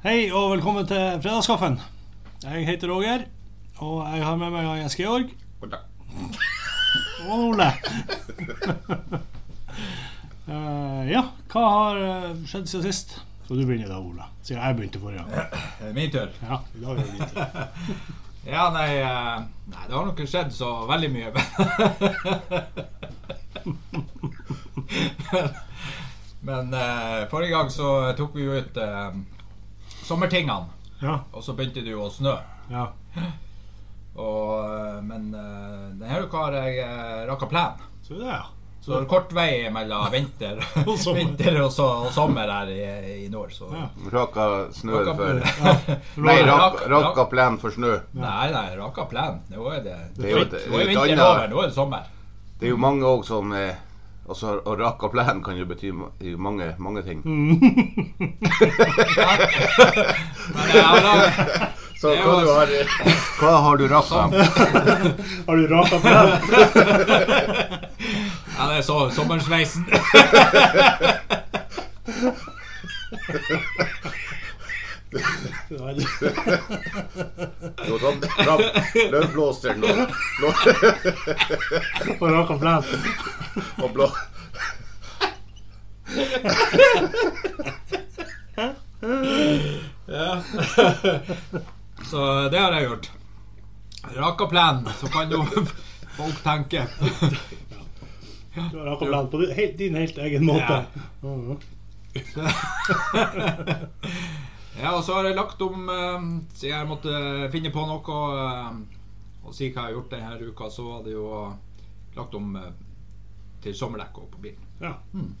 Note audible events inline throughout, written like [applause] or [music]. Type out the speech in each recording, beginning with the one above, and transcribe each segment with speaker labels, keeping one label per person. Speaker 1: Hei og velkommen til Fredagskaffen. Jeg heter Roger, og jeg har med meg Jens Georg og Ole. [laughs] Eh, ja, hva har eh, skjedd siden sist? Skal du begynne da, Ole? Siden jeg begynte forrige gang.
Speaker 2: Det er Eh, Min tur.
Speaker 1: Ja, i dag er det din tur.
Speaker 2: Ja, nei, eh, nei Det har nok ikke skjedd så veldig mye. [laughs] Men, men eh, forrige gang så tok vi jo ut eh, sommertingene,
Speaker 1: Ja,
Speaker 2: og så begynte det jo å snø.
Speaker 1: ja.
Speaker 2: Og, eh, men eh, denne uka har jeg eh, rakka plen.
Speaker 1: Så det, ja.
Speaker 2: Så det er kort vei mellom vinter
Speaker 1: [laughs] Og
Speaker 2: og
Speaker 1: sommer.
Speaker 2: sommer, vinter og så, og sommer her i, i nord. Så.
Speaker 1: Ja.
Speaker 3: Raka snø
Speaker 2: Rakka-
Speaker 3: for
Speaker 2: Nei,
Speaker 3: Nei, rak,
Speaker 2: rak-
Speaker 3: raka
Speaker 2: rak-
Speaker 3: plen for snø.
Speaker 2: Nei, nei, raka plen. Nå er det,
Speaker 3: Det er jo et- det
Speaker 2: nå
Speaker 3: er
Speaker 2: er
Speaker 3: et
Speaker 2: vinteren
Speaker 3: annet-
Speaker 2: over, nå er det sommer.
Speaker 3: Det er jo mange òg som eh, Altså, å raka plen kan jo bety ma- i mange, mange ting.
Speaker 1: Mm. [laughs]
Speaker 2: Men jeg har lag-
Speaker 3: Så
Speaker 2: det
Speaker 3: hva,
Speaker 2: var-
Speaker 3: du har, eh, [laughs] hva har du raka?
Speaker 1: Har du raka på den?
Speaker 2: Ja, det er så, sommersveisen.
Speaker 3: Jo, da- da- Løvblåseren og, blå-
Speaker 1: Og raka plenen.
Speaker 3: og blå...
Speaker 2: Så det har jeg gjort. Raka plenen, så kan jo folk tenke.
Speaker 1: Du har raka plenen på din helt, din helt egen måte. Mhm.
Speaker 2: [laughs] Ja, og så har jeg lagt om eh, Siden jeg måtte finne på noe eh, og si hva jeg har gjort denne uka, så var det jo lagt om eh, til sommerdekk og på bilen.
Speaker 1: Ja.
Speaker 2: Mm.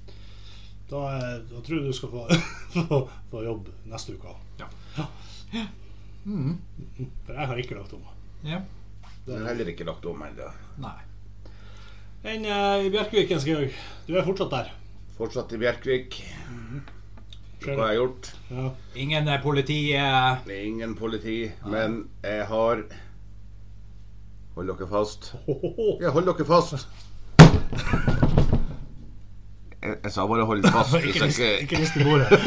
Speaker 1: Da, eh, da tror jeg du skal få, [laughs] få, få jobb neste uke.
Speaker 2: Ja.
Speaker 1: Mm. For jeg har ikke lagt om.
Speaker 2: Ja.
Speaker 3: Den er heller ikke lagt om ennå.
Speaker 2: Nei.
Speaker 1: Enn eh, i Bjerkviken, Skaug. Du er fortsatt der.
Speaker 3: Fortsatt i Bjerkvik. Hva har jeg gjort?
Speaker 1: Ja.
Speaker 2: Ingen eh, politi eh,
Speaker 3: Det er ingen politi, men jeg har Hold dere fast.
Speaker 1: Hohoho.
Speaker 3: Ja, hold dere fast. Jeg, jeg sa bare hold fast. Hvis
Speaker 1: Ikke
Speaker 3: jeg
Speaker 1: rist
Speaker 3: ikke
Speaker 1: ikke rist i bordet.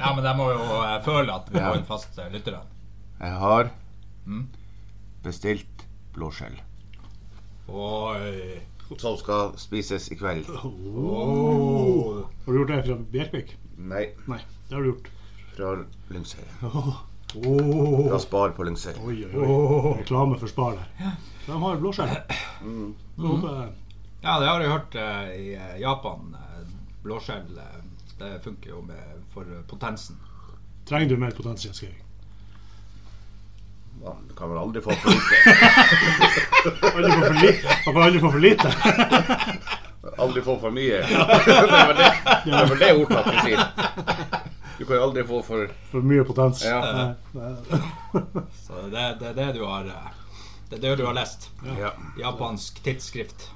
Speaker 2: Ja, men de må jo eh, føle at vi
Speaker 3: Ja.
Speaker 2: har en fast eh, lytter.
Speaker 3: Jeg har
Speaker 2: Mm.
Speaker 3: bestilt blåskjell.
Speaker 2: Oi.
Speaker 3: Som skal spises i kveld.
Speaker 2: Oh.
Speaker 1: [laughs] Har du gjort det fra Bjerkvik?
Speaker 3: Nei,
Speaker 1: Nei, det har du gjort.
Speaker 3: fra Lyngsøy.
Speaker 2: Oh.
Speaker 3: Fra Spar på Lyngsøy.
Speaker 1: Oi, oi, oi. Reklame for Spar der. De har blåskjell. Så eh, håper jeg-
Speaker 2: Ja, det har jeg hørt eh, i eh, Japan. eh, Blåskjell eh, det funker jo med, for eh, potensen.
Speaker 1: Trenger du mer potensial, Skaug?
Speaker 3: Ja, Du kan vel aldri få for lite.
Speaker 1: Aldri få for lite. Man kan aldri få for lite.
Speaker 3: Aldri få for mye. Det er vel det, det, er vel det ordtaket sier. Du kan jo aldri få for
Speaker 1: For mye potens.
Speaker 3: Ja.
Speaker 1: Nei, nei. [laughs]
Speaker 2: Så det er det, er det du har eh, Det er det du har lest.
Speaker 3: ja.
Speaker 2: Japansk tidsskrift.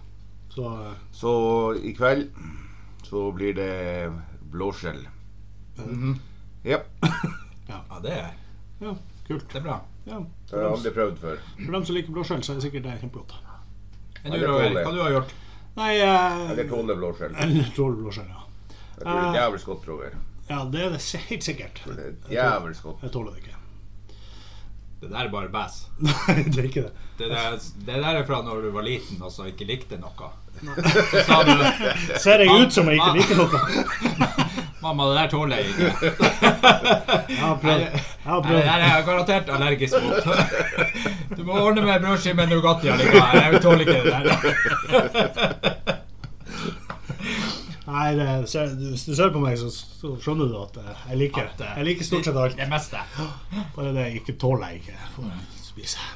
Speaker 1: Så eh,
Speaker 3: Så i kveld så blir det blåskjell. Ja.
Speaker 2: Ja, det, er-
Speaker 1: ja, kult.
Speaker 2: det er bra.
Speaker 1: Ja.
Speaker 3: Det har jeg aldri prøvd før.
Speaker 1: For dem som liker blåskjell, så er det sikkert det kjempegodt.
Speaker 2: Men
Speaker 3: Ja,
Speaker 2: du,
Speaker 3: det
Speaker 2: Roger,
Speaker 3: tåler jeg.
Speaker 2: hva du har gjort?
Speaker 1: Nei
Speaker 3: Eller
Speaker 1: eh,
Speaker 3: tåler blåskjell.
Speaker 1: Eller tåler blåskjell, ja.
Speaker 3: Jeg tror det er jævlig godt, Roger.
Speaker 1: Ja, det er det si- helt sikkert.
Speaker 3: Det er jævlig godt.
Speaker 1: Jeg tåler det ikke. [laughs]
Speaker 2: Det der er bare bæs.
Speaker 1: Nei, det er ikke det.
Speaker 2: Det der, det der er fra når du var liten og så ikke likte noe. Så sa du
Speaker 1: Ser jeg ut som jeg ikke liker noe?
Speaker 2: 'Mamma, det der tåler jeg ikke'.
Speaker 1: Jeg har
Speaker 2: Nei,
Speaker 1: prøvd.
Speaker 2: det-
Speaker 1: Jeg har
Speaker 2: Nei, det
Speaker 1: prøvd.
Speaker 2: der er jeg garantert allergisk mot. Du må ordne med brødskive med Nugatti allikevel. Jeg tåler ikke det der.
Speaker 1: Nei, det, ser, hvis du ser på meg, så, så skjønner du at eh, jeg liker
Speaker 2: At, eh,
Speaker 1: Jeg liker stort sett alt.
Speaker 2: Det meste.
Speaker 1: Bare det jeg ikke tåler jeg ikke. Får jeg spise.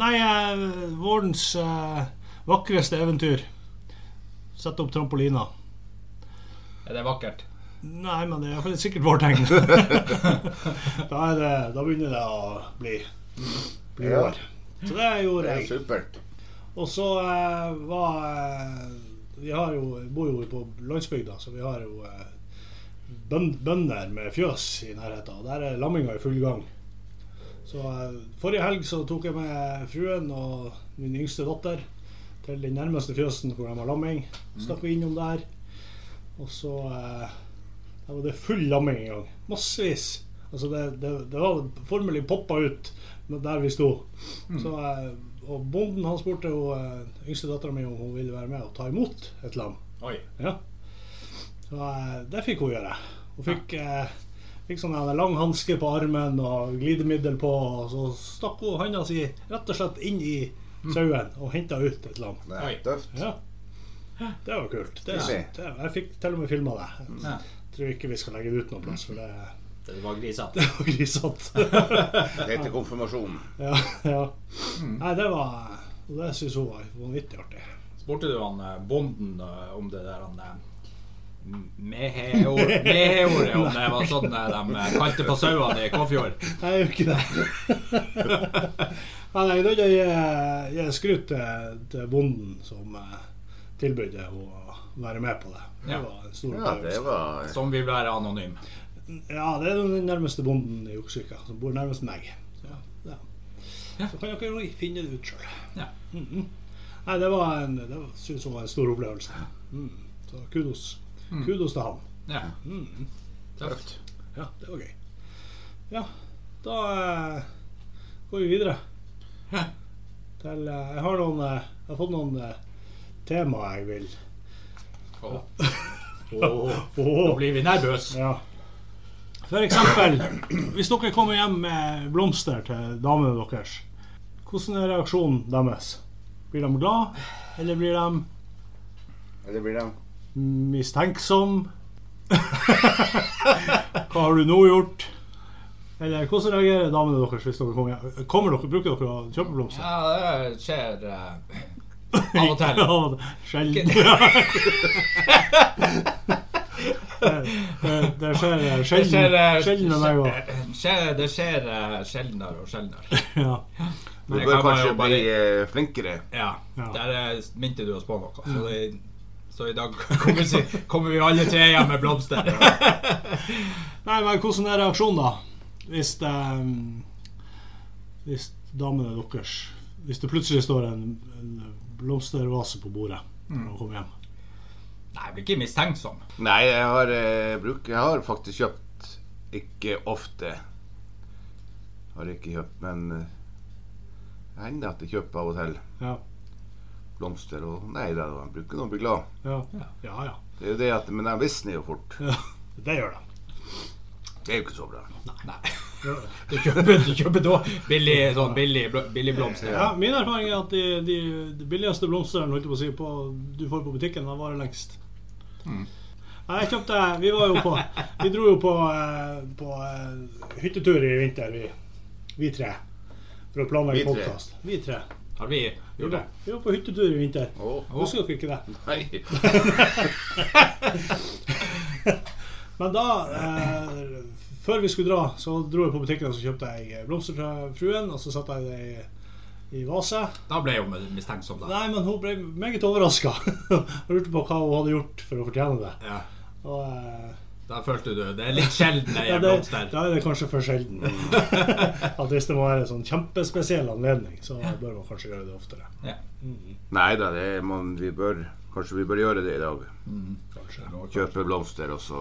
Speaker 1: Nei, eh, vårens eh, vakreste eventyr. Sette opp trampolina.
Speaker 2: Er det vakkert?
Speaker 1: Nei, men det er iallfall sikkert vårt tegn. da, er det, da begynner det å bli, bli
Speaker 3: Ja.
Speaker 1: vår. Så det
Speaker 3: Det
Speaker 1: gjorde
Speaker 3: er
Speaker 1: jeg.
Speaker 3: supert.
Speaker 1: Og så eh, var eh, Vi har jo, bor jo på landsbygda, så vi har jo eh, bøn- bønder med fjøs i nærheten. Og der er lamminga i full gang. Så eh, forrige helg så tok jeg med fruen og min yngste datter til den nærmeste fjøsen hvor de har lamming. Stakk vi innom der. Og så eh, Der var det full lamming i gang. Massevis. Altså det, det, det var formelig poppa ut med der vi sto. Så, eh, og bonden han spurte jo, eh, yngste dattera mi om hun ville være med og ta imot et lam.
Speaker 2: Oi.
Speaker 1: Ja. Så eh, det fikk hun gjøre. Hun fikk, eh, fikk sånn en lang hanske på armen og glidemiddel på, og så stakk hun handa si rett og slett inn i sauen og henta ut et lam.
Speaker 3: Nei,
Speaker 2: Oi.
Speaker 3: tøft.
Speaker 1: Ja. Det var kult. Det,
Speaker 3: Stilig.
Speaker 1: det, jeg fikk til og med filma det.
Speaker 2: Ja.
Speaker 1: Jeg tror ikke vi skal legge det ut noen plass, for det,
Speaker 2: Det var grisete.
Speaker 1: det var grisete.
Speaker 3: Det heter konfirmasjon.
Speaker 1: ja, ja. Nei, det var og Det syns hun var vanvittig artig.
Speaker 2: Spurte du han eh, bonden eh, om det der han eh, m- [laughs] meheor- Meheordet, om det var sånn eh, de eh, kalte på sauene i Kåfjord?
Speaker 1: Nei, jeg gjør ikke det. [laughs] Nei, nei, da gir jeg, jeg skryt til, til bonden som eh, tilbød å være med på det. Det
Speaker 2: Ja.
Speaker 1: var en stor
Speaker 3: Ja, det
Speaker 1: opplevelse.
Speaker 3: var
Speaker 2: Som vil være anonym.
Speaker 1: Ja, det er den nærmeste bonden i Oksvika, som bor nærmest meg. Så, ja.
Speaker 2: Ja.
Speaker 1: Så kan dere jo finne det ut sjøl.
Speaker 2: Ja.
Speaker 1: Nei, det var en, det var- synes jeg var en stor opplevelse. Mm. Så kudos. Kudos til han.
Speaker 2: ja.
Speaker 1: Mm.
Speaker 2: Tøft.
Speaker 1: Ja, det var gøy. Ja, da eh, går vi videre.
Speaker 2: Ja.
Speaker 1: Til, eh, jeg har noen eh, Jeg har fått noen eh, tema jeg vil
Speaker 2: Åh. Åh. Nå
Speaker 1: Åh,
Speaker 2: blir vi nervøse.
Speaker 1: ja. For eksempel, hvis dere kommer hjem med blomster til damene deres, hvordan er reaksjonen deres? Blir de glad, eller blir de
Speaker 3: Eller blir det
Speaker 1: mistenksom? [laughs] Hva har du nå gjort? Eller hvordan reagerer damene deres hvis dere kommer hjem? Kommer dere, bruker dere å kjøpe blomster?
Speaker 2: Ja, det skjer eh,
Speaker 1: [laughs]
Speaker 2: av og til.
Speaker 1: Ja, Sjelden. [laughs] det, det skjer eh,
Speaker 2: Det skjer,
Speaker 1: sjelden,
Speaker 2: eh,
Speaker 1: sjelden med meg òg.
Speaker 2: skje- skjer, det skjer eh, sjeldnere og sjeldnere.
Speaker 1: Ja.
Speaker 3: Du
Speaker 2: Det kan
Speaker 3: bør
Speaker 2: man jo
Speaker 3: kanskje
Speaker 2: bare-
Speaker 3: bli eh, flinkere.
Speaker 2: Ja,
Speaker 1: Ja. Mm.
Speaker 2: der eh, minte du oss på noe. Så, det, så i dag [laughs] kommer, vi- kommer vi alle tre hjem med
Speaker 1: [laughs]
Speaker 2: blomster.
Speaker 1: Nei, men hvordan er reaksjonen, da? Hvis eh, Hvis damene deres Hvis det plutselig står en, en blomstervase på bordet når
Speaker 2: Mm.
Speaker 1: de kommer hjem.
Speaker 2: Nei, jeg blir ikke mistenksom.
Speaker 3: Nei, jeg har, eh, bruk, jeg har faktisk kjøpt Ikke ofte. Har ikke kjøpt, men eh, det hender at jeg kjøper av og til
Speaker 1: Ja.
Speaker 3: blomster. Og nei da, de bruker noe å bli glad.
Speaker 1: Ja, ja. ja.
Speaker 3: Det er jo det at, Men de visner jo fort.
Speaker 1: Det gjør de.
Speaker 3: Det er jo ikke så bra.
Speaker 1: [laughs]
Speaker 2: Nei. Du kjøper, du kjøper da billig, sånn billig, bl- billig blomster.
Speaker 1: Ja, min erfaring er at de, de, de billigste blomstene holdt jeg på å si, på, du får på butikken, de varer lengst.
Speaker 3: Mm.
Speaker 1: Nei, jeg kjøpte Vi var jo på Vi dro jo på, eh, på eh, hyttetur i vinter, vi, vi tre. For å
Speaker 3: Vi
Speaker 1: planlegge
Speaker 3: tre.
Speaker 1: podkast. Vi tre.
Speaker 2: Har vi
Speaker 1: Vi
Speaker 2: gjort det?
Speaker 1: var, vi var på hyttetur i vinter.
Speaker 3: Å,
Speaker 1: Husker dere ikke det?
Speaker 3: nei.
Speaker 1: Men da, eh, før vi skulle dra, så dro jeg på butikken og så kjøpte jeg blomster fra fruen. Og så satte jeg det i, i vase.
Speaker 2: Da ble jeg jo mistenksom, da.
Speaker 1: Nei, men hun ble meget overraska. Hun [laughs] lurte på hva hun hadde gjort for å fortjene det.
Speaker 2: Ja.
Speaker 1: Og, eh,
Speaker 2: Da følte du det er litt sjelden jeg
Speaker 1: ja,
Speaker 2: gir
Speaker 1: det,
Speaker 2: blomster.
Speaker 1: da er det kanskje for sjelden. At hvis det må være en sånn kjempespesiell anledning, så bør man kanskje gjøre det oftere.
Speaker 2: Ja.
Speaker 3: [laughs] Nei da, det er man, vi bør Kanskje vi bør gjøre det i dag.
Speaker 1: Kanskje.
Speaker 3: Kjøpe blomster, og så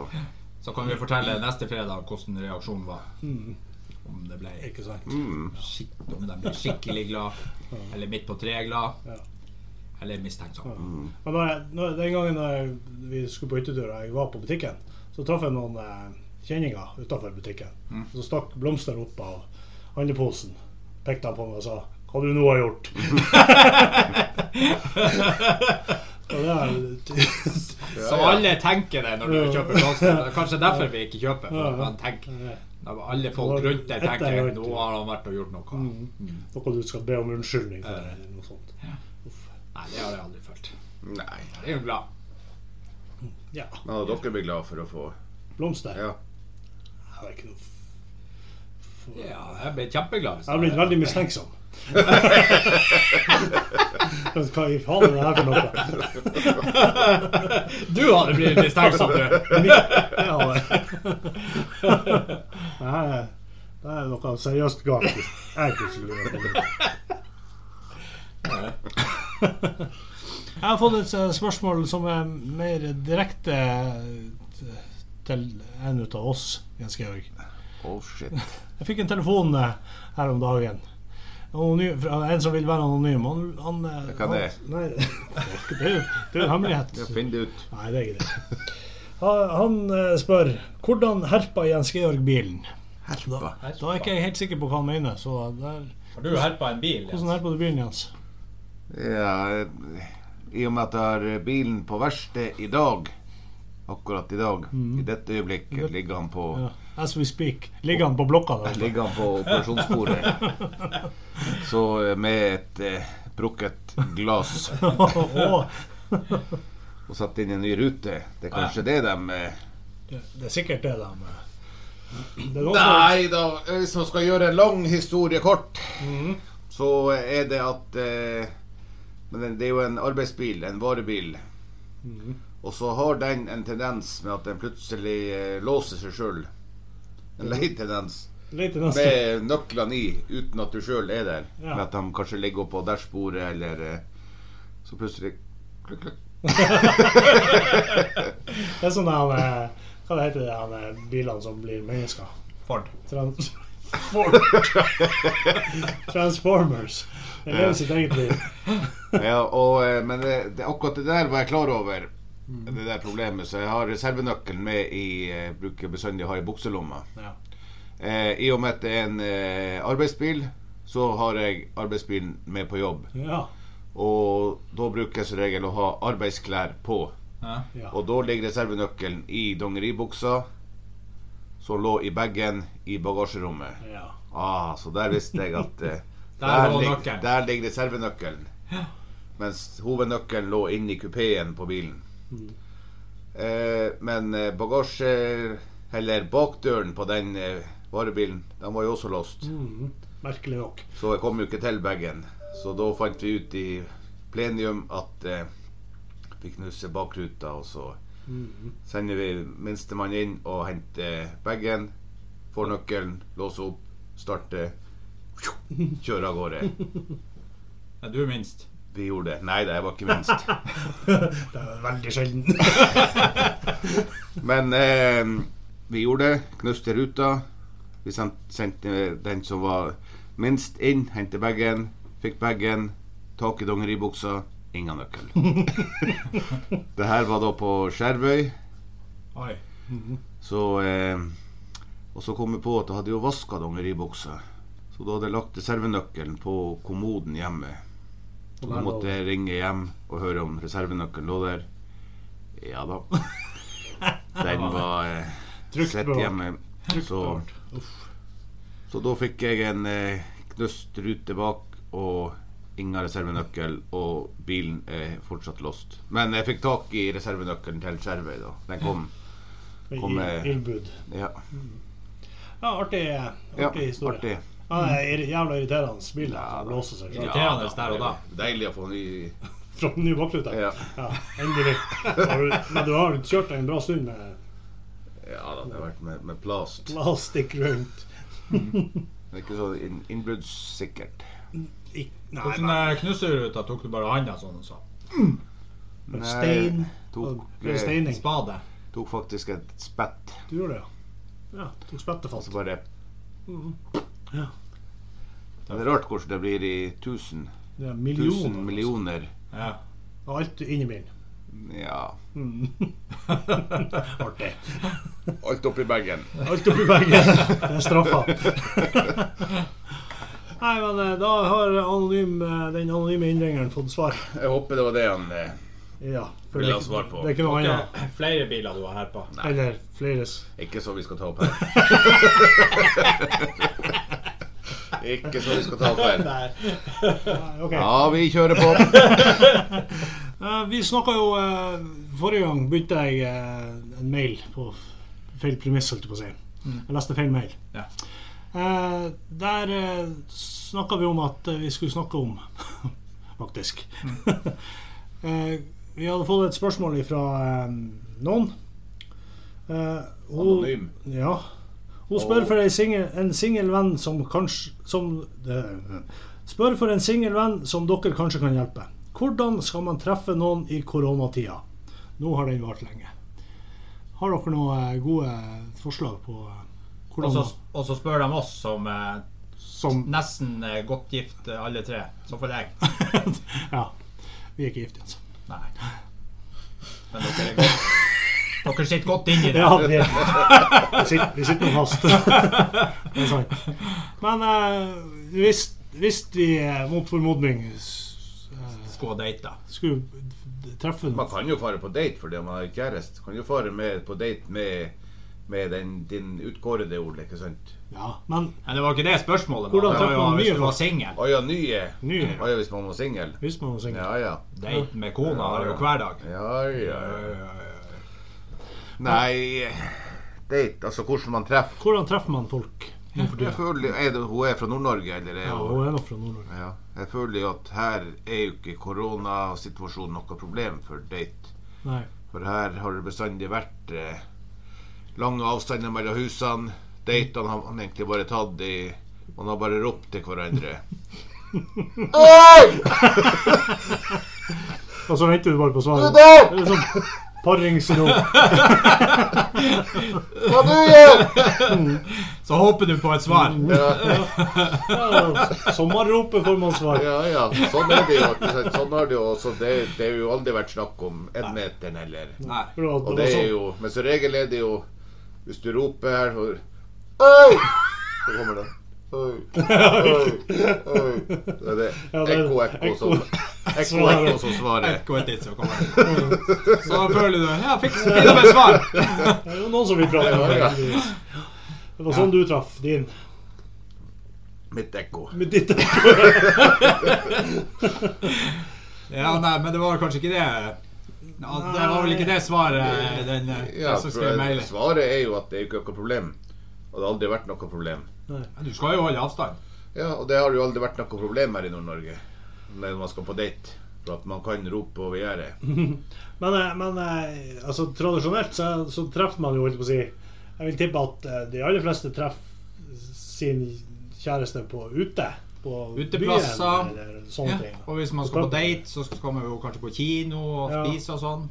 Speaker 2: Så kan vi fortelle neste fredag hvordan reaksjonen var.
Speaker 1: Mm.
Speaker 2: Om det ble
Speaker 1: Ikke sant?
Speaker 3: mm.
Speaker 2: skikk- om de ble skikkelig glad, eller midt på treet glad,
Speaker 1: Ja.
Speaker 2: eller mistenksom.
Speaker 1: Men når jeg, når, den gangen når jeg, vi skulle på hyttetur og jeg var på butikken, så traff jeg noen eh, kjenninger utafor butikken. Så stakk blomster opp av handleposen. Pekte han på meg og sa 'Hva du nå har gjort?' [laughs] og det er
Speaker 2: Så alle tenker det når du
Speaker 1: Ja.
Speaker 2: kjøper blomster. Det er kanskje derfor vi ikke kjøper.
Speaker 1: Ja,
Speaker 2: For
Speaker 1: ja.
Speaker 2: man tenker, når alle folk rundt deg
Speaker 1: Dette er jo
Speaker 2: tenker nå
Speaker 1: ikke-
Speaker 2: har han vært og gjort noe.
Speaker 1: Mm. noe du skal be om unnskyldning for. eller noe sånt.
Speaker 2: Nei, det har jeg aldri følt.
Speaker 3: Nei.
Speaker 2: Jeg er jo glad.
Speaker 1: Ja.
Speaker 3: Men hadde dere blir glad for å få
Speaker 1: Blomster.
Speaker 3: Ja.
Speaker 1: Jeg har ikke noe f-
Speaker 2: Ja, jeg ble kjempeglad. hvis
Speaker 1: Jeg har blitt veldig mistenksom. Men Hva i faen er det her for noe?
Speaker 2: Du hadde blitt mistenksom,
Speaker 1: [laughs]
Speaker 2: du.
Speaker 1: Ja, [laughs] det. Det her er, det her er noe seriøst galt. hvis Jeg plutselig gjør det. Jeg har fått et eh, spørsmål som er mer direkte til en ut av oss, Jens Georg.
Speaker 3: Oh shit.
Speaker 1: Jeg fikk en telefon eh, her om dagen. Anonym, fra en som vil være anonym. Han, han, eh,
Speaker 3: Hva det er?
Speaker 1: han- Nei, [laughs] det er jo det er jo en hemmelighet.
Speaker 3: Ja, Finn det ut.
Speaker 1: Nei, det er ikke det. Han, han eh, spør hvordan herpa Jens Georg bilen? Da,
Speaker 3: Herpa.
Speaker 1: da er ikke jeg helt sikker på hva han mener. Så der,
Speaker 2: Har du herpa en bil? Jens?
Speaker 1: hvordan herpa du bilen, Jens?
Speaker 3: Ja, eh, I og med at jeg har bilen på verksted i dag, akkurat i dag, i dette øyeblikket, ligger han på
Speaker 1: Ja. As we speak. Ligger han på blokka der? oppe? [laughs]
Speaker 3: [laughs] ligger han på operasjonsbordet. Så eh, med et eh, brukket glass
Speaker 1: Å,
Speaker 3: og satt inn en ny rute. Det er kanskje det de eh,
Speaker 1: det det er sikkert det de det er noen som-
Speaker 3: Nei da, hvis man skal gjøre en lang historie kort, så er det at eh, Men den- det er jo en arbeidsbil, en varebil.
Speaker 1: Mm.
Speaker 3: Og så har den en tendens med at den plutselig eh, låser seg sjøl. En lei tendens.
Speaker 1: Litt i neste.
Speaker 3: Med nøklene i, uten at du sjøl er der.
Speaker 1: Ja.
Speaker 3: Med at de kanskje ligger oppå dashbordet, eller eh, Så plutselig klukk, klukk.
Speaker 1: Det er sånn han eh, Hva det heter det han eh, bilene som blir mennesker?
Speaker 2: Ford.
Speaker 1: Trans Transformers. Det lever sitt eget liv.
Speaker 3: Ja, og, eh, men det, det, akkurat det der var jeg klar over. Det der problemet Så jeg har reservenøkkelen med i eh, bruker bestandig å ha i bukselomma.
Speaker 1: Ja.
Speaker 3: Eh, I og med at det er en eh, arbeidsbil, så har jeg arbeidsbilen med på jobb.
Speaker 1: Ja.
Speaker 3: Og da bruker jeg som regel å ha arbeidsklær på.
Speaker 2: Ja.
Speaker 1: ja.
Speaker 3: Og da ligger reservenøkkelen i dongeribuksa, som lå i bagen i bagasjerommet.
Speaker 1: ja.
Speaker 3: Ah, så der visste jeg at eh,
Speaker 2: [laughs] Der
Speaker 3: der,
Speaker 2: lå
Speaker 3: lig,
Speaker 2: nøkkelen.
Speaker 3: der ligger reservenøkkelen. Mens hovednøkkelen lå inni kupeen på bilen.
Speaker 2: Mm.
Speaker 3: Eh, men eh, bagasje... Eller bakdøren på den eh, varebilen, den var jo også låst.
Speaker 1: Mhm. Merkelig nok.
Speaker 3: Så jeg kom jo ikke til bagen. Så da fant vi ut i plenium at eh, vi knuser bakruta, og så
Speaker 1: Mm-hmm. [laughs]
Speaker 3: sender vi minstemann inn og henter bagen, får nøkkelen, låser opp, starter, kjører av gårde.
Speaker 2: Er du minst?
Speaker 3: Vi gjorde det. Nei da, jeg var ikke minst.
Speaker 1: Det er veldig sjelden.
Speaker 3: Men eh, vi gjorde det. Knuste ruta. Vi sendt- sendte den som var minst inn, hentet bagen, fikk bagen, tak i dongeribuksa, ingen nøkkel. det her var da på Skjervøy,
Speaker 2: Oi.
Speaker 3: så eh, Og så kom jeg på at jeg hadde jo vaska dongeribuksa. Så da hadde jeg lagt reservenøkkelen på kommoden hjemme. [laughs] Og da måtte jeg ringe hjem og høre om reservenøkkelen lå der. Ja
Speaker 1: [laughs]
Speaker 3: da. Den var eh,
Speaker 1: Trygt
Speaker 3: sett
Speaker 1: bevart.
Speaker 3: hjemme. Så,
Speaker 1: bevart.
Speaker 3: så da fikk jeg en eh, knust rute bak og ingen reservenøkkel, og bilen er fortsatt låst. Men jeg fikk tak i reservenøkkelen til Skjervøy, da. Den kom.
Speaker 1: Med
Speaker 3: Kom eh. med-
Speaker 1: il- Ildbud.
Speaker 3: Ja,
Speaker 1: Ah, Ja, artig,
Speaker 3: ja Mm.
Speaker 1: artig historie.
Speaker 3: artig.
Speaker 1: Ah, Ja, det er irri- jævla irriterende bil der som låser seg [laughs] selv.
Speaker 2: Irriterende der og da.
Speaker 3: Deilig å få ny
Speaker 1: fra den nye bakrute.
Speaker 3: Ja.
Speaker 1: Ja, [laughs] endelig. Har du- Men du har kjørt en eh. bra stund med
Speaker 3: Ja da, det har vært med, med plast.
Speaker 1: plastikk rundt.
Speaker 3: Det er ikke så inn, innbruddssikkert.
Speaker 1: Ik Nou, nei,
Speaker 2: Hvordan
Speaker 1: nei.
Speaker 2: eh, knuseruta tok du bare handa sånn og sa?
Speaker 1: men Stein.
Speaker 3: Tok,
Speaker 1: Eller
Speaker 3: eh,
Speaker 1: steining.
Speaker 2: Spade.
Speaker 3: tok faktisk et spett.
Speaker 1: Du gjorde det, ja. Ja, Tok spettet fast.
Speaker 3: Så bare
Speaker 1: Ja.
Speaker 3: Det er rart hvordan det blir i 1000
Speaker 1: Det er
Speaker 3: 1000
Speaker 1: millioner. altså.
Speaker 3: millioner.
Speaker 2: Ja.
Speaker 1: Og alt inni bilen. [laughs]
Speaker 3: Ja.
Speaker 1: Artig.
Speaker 3: Alt oppi bagen.
Speaker 1: Alt oppi bagen. Det er straffa. Nei, men eh, da har anonym, eh, den anonyme innringeren fått svar.
Speaker 3: Jeg håper det var det han eh,
Speaker 1: Ja. For
Speaker 3: Vil
Speaker 1: det, er
Speaker 3: ha
Speaker 1: ikke-
Speaker 3: svar på.
Speaker 1: det er ikke noe annet.
Speaker 2: Ok, Flere biler du har herpa?
Speaker 1: Eller fleres.
Speaker 3: Ikke så vi skal ta opp
Speaker 1: [laughs]
Speaker 3: her. ikke så vi skal ta opp her.
Speaker 1: Nei, ok.
Speaker 3: Ja, vi kjører på.
Speaker 1: Eh, Vi snakka jo eh, Forrige gang begynte jeg eh, en mail på feil premiss, holdt jeg på å si. Jeg leste feil mail.
Speaker 2: Ja.
Speaker 1: Eh, der eh, snakka vi om at eh, vi skulle snakke om [laughs] Faktisk.
Speaker 3: Mm.
Speaker 1: [laughs] eh, vi hadde fått et spørsmål fra eh, noen. Eh, hun,
Speaker 3: Anonym.
Speaker 1: ja. Hun spør
Speaker 3: Og-
Speaker 1: for ei singel- en singel venn som kanskje som, eh, Spør for en singel venn som dere kanskje kan hjelpe. Hvordan skal man treffe noen i koronatida? Nå har den vart lenge. Har dere noen eh, gode forslag på eh,
Speaker 2: Og
Speaker 1: Hvordan
Speaker 2: så, og så spør de oss som eh,
Speaker 1: Som
Speaker 2: nesten eh, godt gift, eh, alle tre. Så får
Speaker 1: [laughs]
Speaker 2: jeg.
Speaker 1: Ja. Vi er ikke gift, altså.
Speaker 2: Nei. Men dere er godt. Dere sitter godt inni
Speaker 1: [laughs]
Speaker 2: det.
Speaker 1: Ja, vi, [laughs] vi, sitter, vi sitter nå fast. [laughs] Det er sant. Men eh, hvis, hvis vi eh, mot formodning s- eh,
Speaker 2: Skal og date, da.
Speaker 1: skulle treffe
Speaker 3: Man
Speaker 1: noen
Speaker 3: kan jo fare på date fordi man har kjæreste. Kan jo fare med, på date med, med den, din utkårede Ole, ikke sant?
Speaker 1: Ja, men
Speaker 2: Men det var ikke det spørsmålet. da.
Speaker 1: Hvordan
Speaker 2: det var
Speaker 1: treffer
Speaker 2: jo
Speaker 1: man
Speaker 2: hvis
Speaker 1: nye
Speaker 2: du var
Speaker 1: folk?
Speaker 2: singel.
Speaker 3: Å ja, nye.
Speaker 1: Nye.
Speaker 3: Å ja, hvis man var singel.
Speaker 1: hvis man var singel
Speaker 3: Ja, ja.
Speaker 2: Date med kona har jeg jo hver dag.
Speaker 3: Ja, ja, ja. Nei Date, altså hvordan man treffer
Speaker 1: Hvordan treffer man folk nå for
Speaker 3: Jeg [laughs]
Speaker 1: tida?
Speaker 3: føler, er det, Hun er fra Nord-Norge, eller? Er
Speaker 1: Ja,
Speaker 3: hun,
Speaker 1: hun er nok fra Nord-Norge.
Speaker 3: ja. Jeg føler jo at her er jo ikke koronasituasjonen noe problem for date.
Speaker 1: Nei.
Speaker 3: For her har det bestandig vært eh, lange avstander mellom husene. Datene har man egentlig bare tatt i Man har bare ropt til hverandre. Oi!
Speaker 1: Og så venter du bare på
Speaker 3: Du
Speaker 1: svaret.
Speaker 3: der!
Speaker 1: Det er sånn
Speaker 3: [laughs]
Speaker 1: paringsrom.
Speaker 3: Hva du gjør
Speaker 2: Så håper du på et svar.
Speaker 3: Ja,
Speaker 1: Ja, sommerropet får man svar.
Speaker 3: ja, ja. Sånn er det jo. ikke sant? Sånn har det jo også. Det, det har jo aldri vært snakk om enmeteren heller.
Speaker 2: Nei.
Speaker 1: Bra,
Speaker 3: Og
Speaker 1: det
Speaker 3: det
Speaker 1: var
Speaker 3: er
Speaker 1: sånn.
Speaker 3: jo Men som regel er det jo Hvis du roper her så, Oi! Så kommer det Oi, oi, oi. Så er det
Speaker 1: Ja, det er
Speaker 3: ekko, ekko
Speaker 1: ekko.
Speaker 3: som Ekko, ekko som svarer.
Speaker 2: Ekko et tids, så kommer jeg.
Speaker 3: [laughs]
Speaker 2: Så føler du Ja, fiks det med svar!
Speaker 1: Det er jo noen som vil prate med
Speaker 3: Ja, ja.
Speaker 1: deg. heldigvis. Det var sånn du traff din.
Speaker 3: Mitt ekko.
Speaker 1: Med ditt
Speaker 2: Ja, nei, men det var kanskje ikke det ja, Det var vel ikke det svaret den, eh,
Speaker 3: Ja,
Speaker 2: den som skrev
Speaker 3: for
Speaker 2: mailen.
Speaker 3: svaret er jo at det er jo ikke noe problem. Og det har aldri vært noe problem.
Speaker 2: Du skal jo holde avstand.
Speaker 3: Ja, og det har jo aldri vært noe problem her i Nord-Norge når man skal på date. For at man kan rope over gjerdet.
Speaker 1: Men, eh, men eh, altså, tradisjonelt så, så treffer man jo, holdt jeg på å si Jeg vil tippe at eh, de aller fleste treffer sin kjæreste på ute. På
Speaker 2: Uteplasser.
Speaker 1: byen eller
Speaker 2: Ja.
Speaker 1: sånne ting.
Speaker 2: Og hvis man skal på date, så skal man jo kanskje på kino og
Speaker 1: Ja.
Speaker 2: spise og sånn.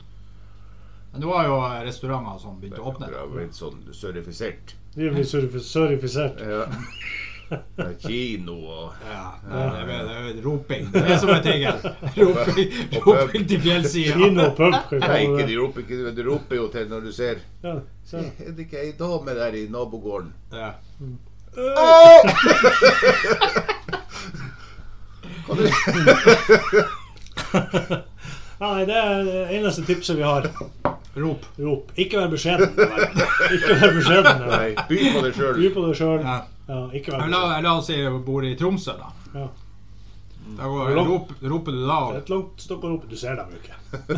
Speaker 2: Men det var jo restauranter som begynte å åpne.
Speaker 3: Det har blitt sånn sørifisert.
Speaker 1: Vi blir surif surifisert.
Speaker 3: Ja. Kino og
Speaker 2: Ja, det er, det er, det er roping. Det er det som er tingen. Roping,
Speaker 3: Og pub.
Speaker 2: roping til [laughs] fjellsida.
Speaker 1: Kino og pub. hva
Speaker 3: Nei,
Speaker 1: kaller
Speaker 3: ikke,
Speaker 1: det?
Speaker 3: de roper ikke, du roper jo til når du ser
Speaker 1: Ja, se.
Speaker 3: Er det ikke ei dame der i nabogården?
Speaker 2: Ja.
Speaker 3: Kan du-
Speaker 1: Ja, [laughs] Nei, det er det eneste tipset vi har.
Speaker 2: Rop.
Speaker 1: Rop. Ikke vær beskjeden. med hverandre. Ikke vær beskjeden. med hverandre.
Speaker 3: Nei, by på deg
Speaker 1: By
Speaker 3: sjøl.
Speaker 1: på deg sjøl.
Speaker 2: Ja.
Speaker 1: Ja, ikke vær
Speaker 2: Men La, la oss si du bor i Tromsø, da.
Speaker 1: Ja.
Speaker 2: da går, rop, roper du
Speaker 1: Det
Speaker 2: da
Speaker 1: er
Speaker 2: og
Speaker 1: Et langt stokk å rope. Du ser dem jo ikke. [laughs]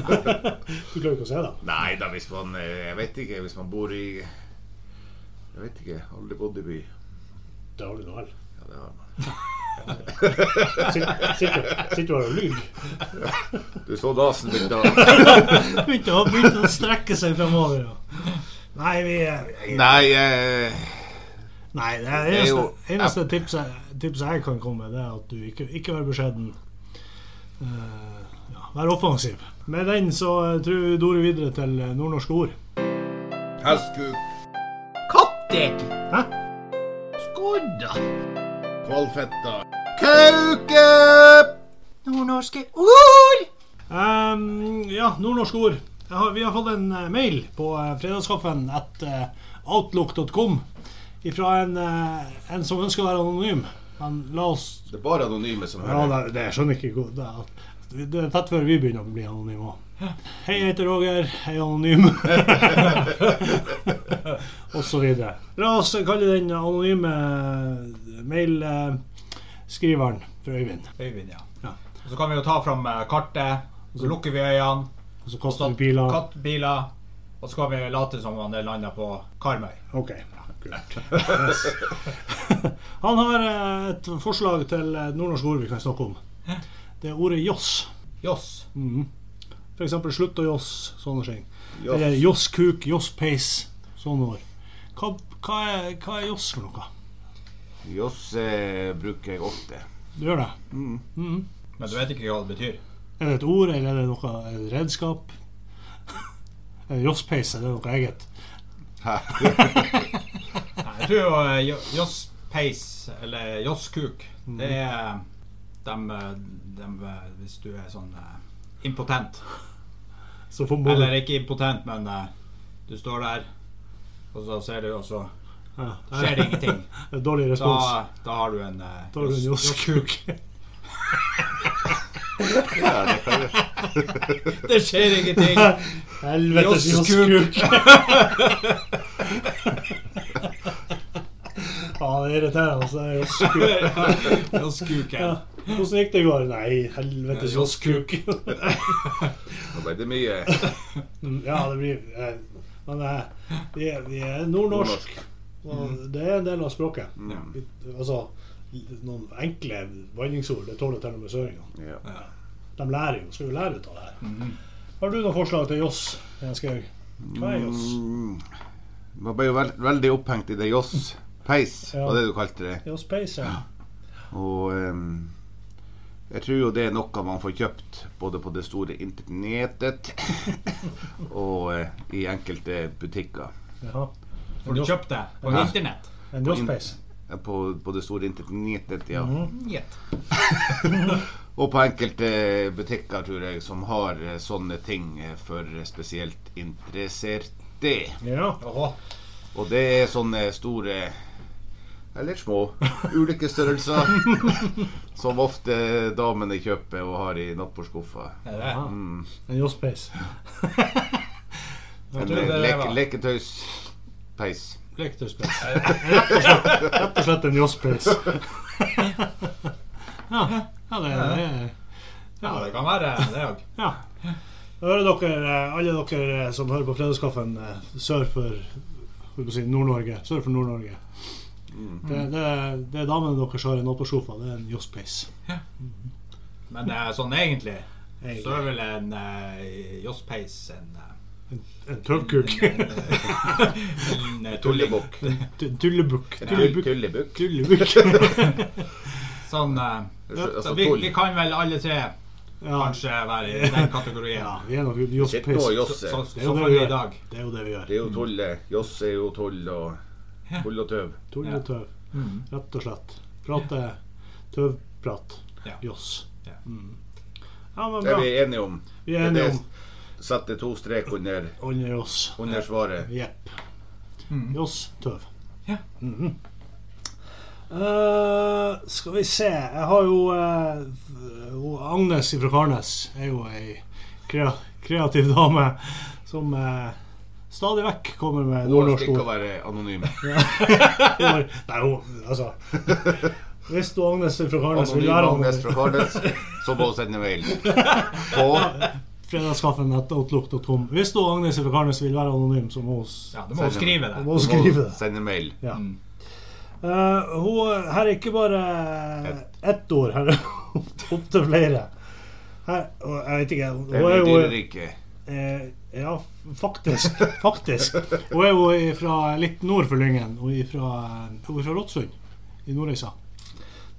Speaker 1: Du klarer jo ikke å se dem.
Speaker 3: Nei da, hvis man eh, Jeg vet ikke. Hvis man bor i Jeg vet ikke. Aldri bodd i by.
Speaker 1: Det har du nå vel.
Speaker 3: Ja, det har man.
Speaker 1: Sitter sitter- sitter du her og [laughs] lyver?
Speaker 3: Du så dasen min da?
Speaker 1: Begynte å, begynte å strekke seg fremover. Ja. Nei, vi
Speaker 3: Nei, eh,
Speaker 1: Nei, det er
Speaker 3: Det er
Speaker 1: eneste,
Speaker 3: jo-
Speaker 1: eneste tipset, tipset jeg kan komme med, det er at du ikke, ikke vær beskjeden. Eh, ja, vær offensiv. Med den så eh, tror vi vi dorer videre til eh, nordnorske ord.
Speaker 3: hestkuk,
Speaker 2: Katter!
Speaker 1: Hæ?
Speaker 2: Skodda!
Speaker 3: kvalfetta, kauke!
Speaker 2: Nordnorske ord!
Speaker 1: Ehm, ja, nordnorske ord. Jeg har, vi har fått en eh, mail på eh, fredagskaffen at eh, outlook.com fra en, eh, en som ønsker å være anonym. Men la oss
Speaker 3: Det er bare anonyme som
Speaker 1: Ja,
Speaker 3: hører.
Speaker 1: det, det skjønner ikke hvor- det er at- Det er tett før vi begynner å bli anonyme òg. Hei, jeg heter Roger. Hei, anonym. og så videre. La oss kalle den eh, anonyme mailskriveren for Øyvind.
Speaker 2: Øyvind, ja.
Speaker 1: Ja.
Speaker 2: Og Så kan vi jo ta fram eh, kartet, og så lukker vi øynene.
Speaker 1: Og så
Speaker 2: og
Speaker 1: kaster
Speaker 2: så
Speaker 1: vi pila.
Speaker 2: Kattbiler. Og så kan vi late som om det lander på Karmøy.
Speaker 1: OK. kult. [laughs] Yes. Han har eh, et forslag til et nordnorsk ord vi kan snakke om. Det er ordet joss.
Speaker 2: Joss.
Speaker 1: Mhm. For eksempel slutt å joss, sånne ting.
Speaker 3: Joss.
Speaker 1: Eller joss kuk, joss peis, sånne ord. Hva, hva, er, hva er joss for noe?
Speaker 3: Joss eh, bruker jeg ofte.
Speaker 1: Du gjør det?
Speaker 2: Men du vet ikke hva det betyr.
Speaker 1: Er det et ord, eller er det noe er det et redskap? [laughs] Er det josspeis, er det noe eget?
Speaker 3: Hæ?
Speaker 2: Nei, jeg tror jo eh, Jo- Joss Peis, eller Joss Kuk,
Speaker 1: Mm.
Speaker 2: det er dem, eh, dem eh, Hvis du er sånn eh, impotent.
Speaker 1: Så får man
Speaker 2: Eller ikke impotent, men eh, du står der, og så ser du, og så
Speaker 1: ja.
Speaker 2: skjer
Speaker 1: [laughs]
Speaker 2: det ingenting.
Speaker 1: Dårlig
Speaker 2: Da,
Speaker 1: respons.
Speaker 2: da har du en eh,
Speaker 1: Da er du en
Speaker 2: Joss-
Speaker 1: Joss Kuk.
Speaker 3: Ja, det kan jeg.
Speaker 2: Det skjer
Speaker 1: [laughs]
Speaker 2: ingenting.
Speaker 1: Helvetes Joss
Speaker 2: Joss Kuk.
Speaker 1: Kuk. [laughs] Ja, det er irriterende. altså. det er Joss Kuk.
Speaker 2: Joss Kuk
Speaker 1: Ja.
Speaker 2: er
Speaker 1: Hvordan gikk det i går? Nei, helvetes Joss Kuk.
Speaker 3: Nå ble det mye
Speaker 1: Mm, [laughs] Ja, det blir eh, Men eh, vi er, vi er nordnorsk, og det er en del av språket.
Speaker 2: ja.
Speaker 1: Vi, altså, noen enkle vanningsord, det tåler til og med søringene.
Speaker 3: ja.
Speaker 1: De lærer jo, skal jo lære ut av det her. Har du noen forslag til Joss? Jeg skal, hva er Joss?
Speaker 3: Mm. Man ble jo vel- veldig opphengt i det Joss Peis,
Speaker 1: Ja.
Speaker 3: var det du kalte det.
Speaker 1: Joss Pace, ja.
Speaker 3: Og ehm, jeg tror jo det er noe man får kjøpt både på det store internettet [laughs] og eh, i enkelte butikker.
Speaker 1: Jaha.
Speaker 2: For du kjøpte det på
Speaker 3: Ja.
Speaker 2: internett.
Speaker 1: En Joss Pace.
Speaker 3: Eh, På, på det store internettet, ja.
Speaker 1: Mhm.
Speaker 2: Gjett.
Speaker 3: Og på enkelte butikker, tror jeg, som har eh, sånne ting eh, for spesielt interesserte.
Speaker 1: Ja.
Speaker 2: Jaha.
Speaker 3: Og det er sånne store eller små.
Speaker 1: [laughs]
Speaker 3: Ulike størrelser. som ofte damene kjøper og har i nattbordskuffa.
Speaker 2: Det er det.
Speaker 1: En Joss Pace.
Speaker 3: En
Speaker 2: tror det
Speaker 3: leke,
Speaker 2: var-
Speaker 3: leketøyspeis.
Speaker 2: Lykterspill.
Speaker 1: Rett og slett en Joss
Speaker 2: [laughs]
Speaker 1: Pace. Ja, ja det er det.
Speaker 2: Ja, det kan være det òg.
Speaker 1: Ja. Hører dere, eh, alle dere eh, som hører på Fredagskaffen eh, sør for hva skal jeg si, Nord-Norge. Sør for Nord-Norge.
Speaker 2: Mm.
Speaker 1: Det, det, det er damene deres som har en oppåsofa. Det er en Jospis.
Speaker 2: Men eh, sånn egentlig så
Speaker 1: En
Speaker 2: er vel en eh, Joss Peis en eh,
Speaker 1: tørvkuk.
Speaker 2: [laughs] En, en, eh, tulling.
Speaker 3: Tullebukk.
Speaker 1: En tullebukk.
Speaker 3: Tull- Tullebukk.
Speaker 1: Tullebukk.
Speaker 2: Sånn eh,
Speaker 3: Altså
Speaker 2: så vi,
Speaker 3: tull.
Speaker 2: vi kan vel alle tre
Speaker 1: Ja,
Speaker 2: kanskje være i den kategorien.
Speaker 1: ja, vi er nok
Speaker 3: Sitt nå,
Speaker 1: Jospis.
Speaker 3: Josse.
Speaker 2: Så,
Speaker 1: Det er jo
Speaker 2: så
Speaker 1: det
Speaker 2: for
Speaker 1: vi
Speaker 2: i
Speaker 1: gjør.
Speaker 2: dag.
Speaker 1: Det er jo det vi gjør.
Speaker 3: Det er jo tulle. Joss er jo tull og tull og tøv.
Speaker 1: Tulletøv.
Speaker 2: Mhm.
Speaker 1: Rett og slett. eh, Prate tøvprat.
Speaker 2: Ja.
Speaker 1: Joss.
Speaker 2: Ja.
Speaker 1: Mm. Sånn, Ja, men
Speaker 3: Det er
Speaker 1: bra.
Speaker 3: vi enige om.
Speaker 1: Vi er enige om
Speaker 3: Sette to strek under,
Speaker 1: Under Joss.
Speaker 3: under svaret.
Speaker 1: Jepp.
Speaker 2: Mhm.
Speaker 1: Joss Tøv.
Speaker 2: Ja.
Speaker 1: Mhm. Eh, skal vi se Jeg har jo eh, f- hun Agnes fra Karnes er jo ei krea kreativ dame som eh, stadig vekk kommer med
Speaker 3: Hun
Speaker 1: nordnorsk
Speaker 3: skal
Speaker 1: ord.
Speaker 3: være anonym.
Speaker 1: Hun har- Nei, hun Altså Hvis du Agnes fra Karnes vil
Speaker 3: Anonym
Speaker 1: være
Speaker 3: Agnes
Speaker 1: med
Speaker 3: fra Karnes, så må hun sende
Speaker 1: [laughs]
Speaker 3: mail. På
Speaker 1: fredagskaffen.outlook.com Hvis du Agnes fra Karnes vil være anonym, så må hun s-
Speaker 2: Ja, du må jo skrive
Speaker 1: hun
Speaker 2: det.
Speaker 1: må skrive det.
Speaker 3: sende mail.
Speaker 1: Ja.
Speaker 2: Mm.
Speaker 1: Eh, hun, her er ikke bare ett ord, her er [laughs] opptil flere. Her, og jeg vet ikke Hun
Speaker 3: Det
Speaker 1: er
Speaker 3: er
Speaker 1: jo
Speaker 3: dyreriket.
Speaker 1: eh, Ja, faktisk. Faktisk. Hun er jo fra litt nord for Lyngen. Hun er fra, hun er fra Rotsund i Nordreisa,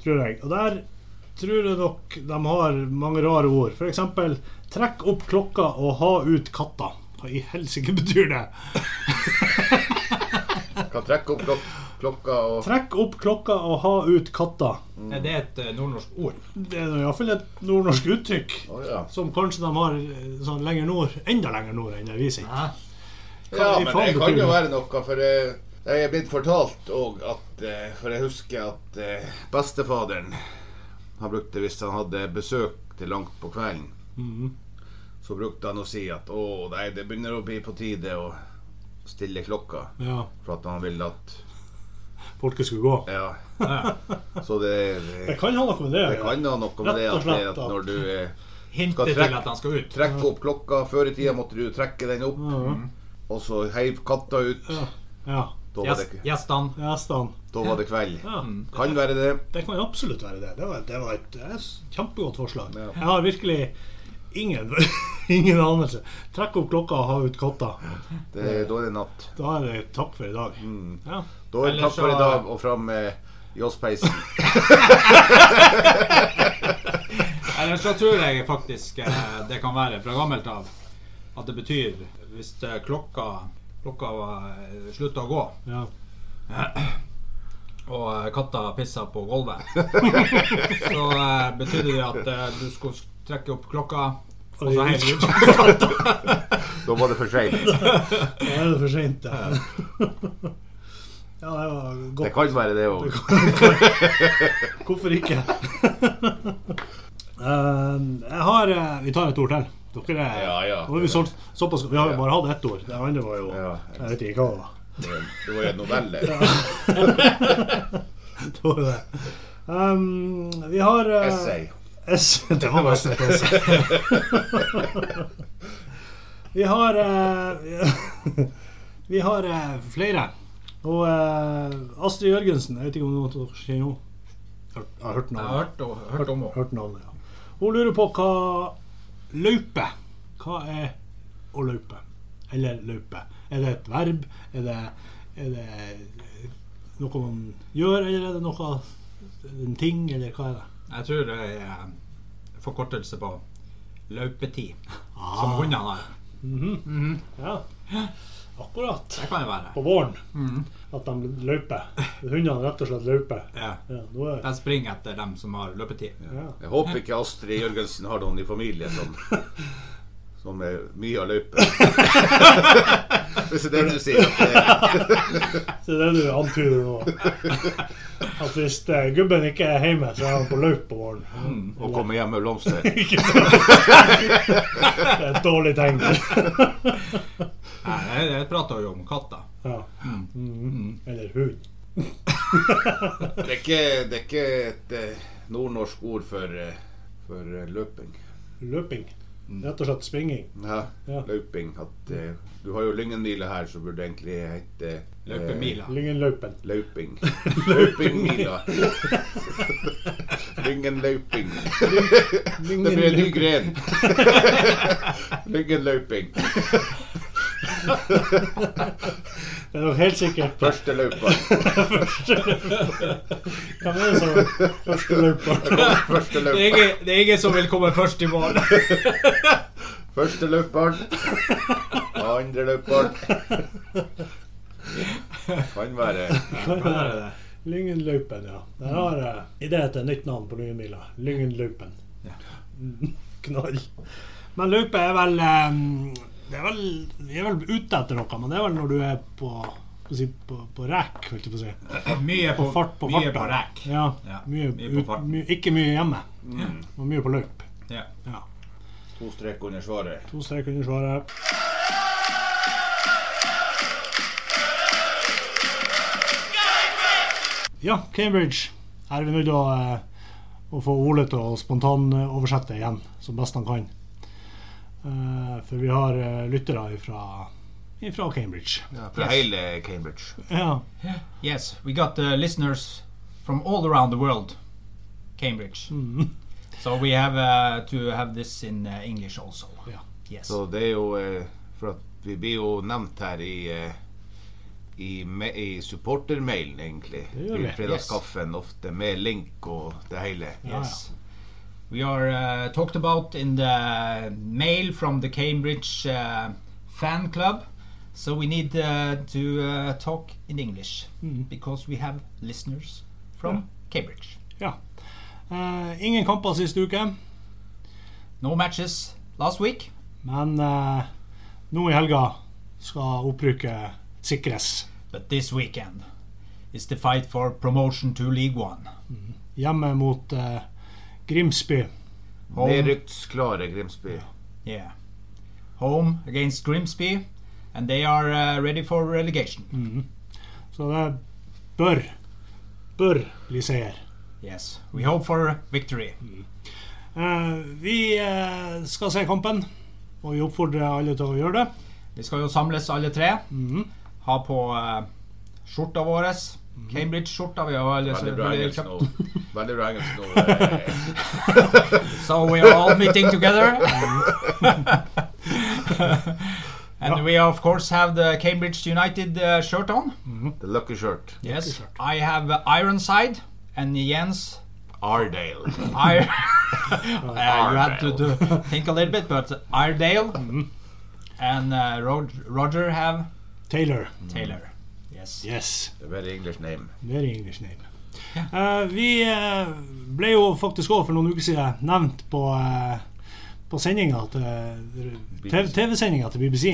Speaker 1: tror jeg. Og der tror jeg nok de har mange rare ord. F.eks.: Trekk opp klokka og ha ut katta. Hva i helsike betyr det?
Speaker 3: Kan trekke opp klok klokka og
Speaker 1: Trekk opp klokka og ha ut katta.
Speaker 2: Er det et eh, nordnorsk ord?
Speaker 1: Det er iallfall et nordnorsk uttrykk.
Speaker 3: Å, ja.
Speaker 1: Som kanskje de har eh, sånn lenger nord, enda lenger nord enn det vi sier.
Speaker 2: Hæ?
Speaker 3: ja,
Speaker 1: Hva i
Speaker 3: men
Speaker 1: faen
Speaker 3: det kan
Speaker 1: betyr
Speaker 3: jo
Speaker 1: det?
Speaker 3: være noe, for eh, jeg er blitt fortalt òg at eh, For jeg husker at eh, bestefaderen Han brukte hvis han hadde besøk til langt på kvelden.
Speaker 1: Mhm.
Speaker 3: Så brukte han å si at å, nei, det begynner å bli på tide å stille klokka.
Speaker 1: Ja,
Speaker 3: For at han ville at
Speaker 1: folket skulle gå.
Speaker 3: Ja.
Speaker 2: Ja.
Speaker 3: Så det, det,
Speaker 1: Det kan ha noe med det å
Speaker 3: det
Speaker 1: gjøre.
Speaker 3: kan ha noe med det
Speaker 1: Rett og
Speaker 3: at,
Speaker 1: slett
Speaker 3: det at
Speaker 1: at-
Speaker 3: når du eh,
Speaker 2: Hintet
Speaker 3: Skal
Speaker 2: til
Speaker 3: trekke-
Speaker 2: at han skal ut.
Speaker 3: trekker opp klokka Før i tida måtte du trekke den opp,
Speaker 1: Mhm.
Speaker 3: og så heiv katta ut.
Speaker 1: Ja. Ja.
Speaker 3: Da var
Speaker 2: Gjest-
Speaker 3: det,
Speaker 2: Gjestene.
Speaker 1: Gjestene.
Speaker 3: da var det kveld.
Speaker 1: Ja.
Speaker 3: Kan være det.
Speaker 1: Det kan absolutt være det. Det var, det var et eh, s- kjempegodt forslag.
Speaker 3: Ja.
Speaker 1: Jeg har virkelig ingen, [laughs] ingen anelse. Trekk opp klokka og ha ut katta.
Speaker 3: det da er det natt.
Speaker 1: Da er det takk for i dag.
Speaker 3: Mm.
Speaker 1: Ja.
Speaker 3: Da er det
Speaker 2: Ellers
Speaker 3: takk for
Speaker 2: så-
Speaker 3: i dag og fram med Johs Peisen.
Speaker 2: Eller så tror jeg faktisk eh, det kan være fra gammelt av at det betyr hvis eh, klokka, klokka var, eh, slutta å gå,
Speaker 1: Ja.
Speaker 2: Og eh, katta pissa på gulvet. Så eh, betydde det at eh, du skulle trekke opp klokka, og så heiv du ut katta.
Speaker 3: Da var det for seint.
Speaker 1: Da er det for seint, det. [laughs] Ja, det var
Speaker 3: Det
Speaker 1: godt.
Speaker 3: kan være det òg.
Speaker 1: Hvorfor ikke? [laughs] Eh, jeg har eh, Vi tar et ord til. Dere er
Speaker 3: Ja, ja.
Speaker 1: Nå er vi, solgt, såpass, vi har jo bare hatt ett ord. Det andre var jo
Speaker 3: Ja.
Speaker 1: Jeg vet ikke hva det var. [laughs]
Speaker 3: Det var jo en novelle.
Speaker 1: Det var jo det. Um, vi har eh,
Speaker 3: Essay.
Speaker 1: Essay. [laughs] Det var altså. nesten et essay. vi har eh, [laughs] Vi har eh, flere. Og eh, Astrid Jørgensen, jeg vet ikke om noen av dere kjenner henne? Hørt- Jeg har hørt
Speaker 2: Jeg har
Speaker 1: navnet.
Speaker 2: hørt, og, hørt om henne.
Speaker 1: Hørt navnet ja. Hun lurer på hva løype Hva er å løype? Eller løype? Er det et verb? Er det, er det noe man gjør, eller er det noe en ting, eller hva er det?
Speaker 2: Jeg tror det er eh, forkortelse på løpetid,
Speaker 1: Ah.
Speaker 2: som hundene har. Mhm.
Speaker 1: Ja, akkurat.
Speaker 2: Det kan jo være.
Speaker 1: På våren.
Speaker 2: Mhm.
Speaker 1: At de løper. Hundene rett og slett løper.
Speaker 2: Ja.
Speaker 1: Ja, nå er,
Speaker 2: Jeg springer etter dem som har løpetid.
Speaker 1: ja.
Speaker 3: Jeg håper ikke Astrid Jørgensen har noen i familien som Som er mye av løypa. Hvis det er det du sier. At det,
Speaker 1: Så det er det du antyder nå. At hvis eh, gubben ikke er hjemme, så er han på løp på våren.
Speaker 3: å komme hjem med blomster.
Speaker 1: [laughs] Ikke sant? Det er et dårlig tegn.
Speaker 2: Nei, jeg, jeg prater jo om katter.
Speaker 1: Ja. Mhm. Eller hund.
Speaker 3: Det er ikke, det er ikke et eh, nordnorsk ord for, eh, for eh, løping.
Speaker 1: Løping. Rett og slett springing.
Speaker 3: Ja,
Speaker 1: Ja.
Speaker 3: løping. At, eh, du har jo Lyngenmila her, som burde egentlig hete eh,
Speaker 2: Løpemila.
Speaker 1: Lyngenløypen.
Speaker 3: Løping. Løpingmila. Lyngenløping. Det blir en ny gren. Lyngenløping.
Speaker 1: Det er nok helt sikkert [laughs]
Speaker 3: Første løpa.
Speaker 1: Hvem er det som første løper?
Speaker 2: [laughs]
Speaker 3: Første
Speaker 2: Det er,
Speaker 3: løpa.
Speaker 2: ingen, det er ingen som vil komme først i morgen.
Speaker 3: Første løperen. Andre løperen. Kan være
Speaker 1: Lyngenløypen, ja. Der
Speaker 2: Mm.
Speaker 1: har jeg idé til nytt navn på Lyngenmila. Lyngenløypen.
Speaker 2: Ja.
Speaker 1: [laughs] Knall. Men løype er vel eh, Det er vel Vi er vel ute etter noe, men det er vel når du er på på, si- på, på rekk, holdt jeg på å si.
Speaker 2: Mye på,
Speaker 1: På fart på
Speaker 2: mye
Speaker 1: farta.
Speaker 2: på rekk.
Speaker 1: Ja,
Speaker 2: Ja,
Speaker 1: mye,
Speaker 2: mye på Mm.
Speaker 1: ut-
Speaker 2: fart.
Speaker 1: mye- ikke mye hjemme,
Speaker 2: Ja.
Speaker 1: og mye på løyp.
Speaker 2: Ja.
Speaker 1: Ja.
Speaker 3: to strek under svaret.
Speaker 1: To streker under svaret. Ja, Cambridge. Her er vi nødt til å, eh, å få Ole til å spontanoversette igjen, som best han kan. Eh, for vi har eh, lyttere fra Cambridge. [laughs]
Speaker 3: Fra hele Cambridge.
Speaker 1: Ja.
Speaker 2: Yes, we got uh, listeners from all around the world. Cambridge.
Speaker 1: Mm.
Speaker 2: So we have uh, to have this in uh, English also.
Speaker 1: Ja.
Speaker 2: Yes.
Speaker 3: Så det er jo eh, For at vi blir jo nevnt her i eh, i, me- i supportermailen, egentlig.
Speaker 1: gjør vi.
Speaker 3: I fredagskaffen, ofte med link og det hele.
Speaker 2: Yes. We are uh, talked about in the mail from the Cambridge uh, fan club. So we need uh, to uh, talk in English because we have listeners from Cambridge.
Speaker 1: ja. Eh, ingen kamper sist uke,
Speaker 2: No matches last week.
Speaker 1: men eh, nå i helga skal opprykket sikres.
Speaker 2: But this weekend is the fight for promotion to League One.
Speaker 1: hjemme mot eh, Grimsby.
Speaker 2: Home,
Speaker 3: Nedrykksklare Grimsby.
Speaker 2: yeah, home against Grimsby, and they are uh, ready for relegation.
Speaker 1: Så det bør bør bli seier.
Speaker 2: Yes, we hope for victory.
Speaker 1: Eh, vi eh, skal se kampen, og vi oppfordrer alle til å gjøre det.
Speaker 2: Vi skal jo samles alle tre. Ha på eh, skjorta vår. Cambridge-skjorta. Vi har jo alle
Speaker 3: Veldig bra
Speaker 2: selvfølgelig
Speaker 3: engelsk
Speaker 2: kjøpt.
Speaker 3: nå. [laughs] Veldig bra engelsk nå. eh.
Speaker 2: So we are all meeting
Speaker 3: [laughs]
Speaker 2: together. [laughs] and we of course have the Cambridge United uh, shirt on.
Speaker 3: The Lucky Shirt.
Speaker 2: Yes, I have uh, Ironside and Jens.
Speaker 3: Ardale.
Speaker 2: I, [laughs] uh, you had to, do- think a little bit, but Iredale and uh, Rog- Roger have
Speaker 1: Taylor.
Speaker 3: Mm.
Speaker 2: Taylor. Yes. Yes.
Speaker 1: Yes.
Speaker 3: The very English name.
Speaker 1: Very English name. Eh, vi eh, ble jo faktisk òg for noen uker siden nevnt på, eh, på sendinga til
Speaker 3: BBC.
Speaker 1: TV-sendinga til BBC.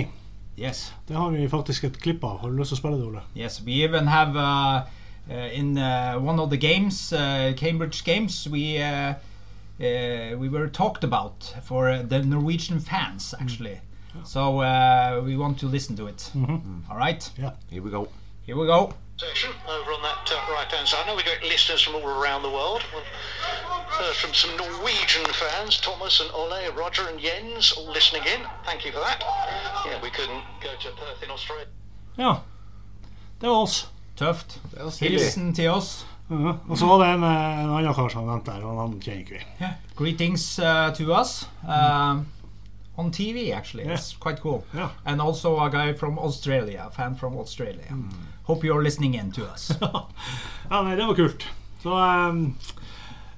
Speaker 2: Yes.
Speaker 1: Det har vi faktisk et klipp av. Har du lyst til å spille det, Ole?
Speaker 2: Yes, we even have uh, uh, in uh, one of the games, uh, Cambridge games, we uh, uh, we were talked about for uh, the Norwegian
Speaker 1: Mm.
Speaker 2: fans actually. So uh, we want to listen to it.
Speaker 1: Mm-hmm.
Speaker 2: All right,
Speaker 3: Here we go.
Speaker 2: here we go.
Speaker 4: section over on that uh, right hand side. Now we've got listeners from all around the world. Well, first from some Norwegian fans, Thomas and Ole, Roger and Jens, all listening in. Thank you for that. Yeah, we couldn't go to Perth in Australia.
Speaker 1: Ja. Det var oss.
Speaker 2: Tøft.
Speaker 3: Det var stilig.
Speaker 2: Hilsen til oss.
Speaker 1: Ja, Og så var det en, eh, en annen kar som nevnte der, og han kjenner ikke vi.
Speaker 2: Greetings uh, to us um, on TV. Actually,
Speaker 1: Mm. Yeah.
Speaker 2: it's quite cool.
Speaker 1: Yeah.
Speaker 2: And also a guy from Australia, a fan from Australia. Hope you're listening in to us.
Speaker 1: Ja, nei, det var kult. Så eh,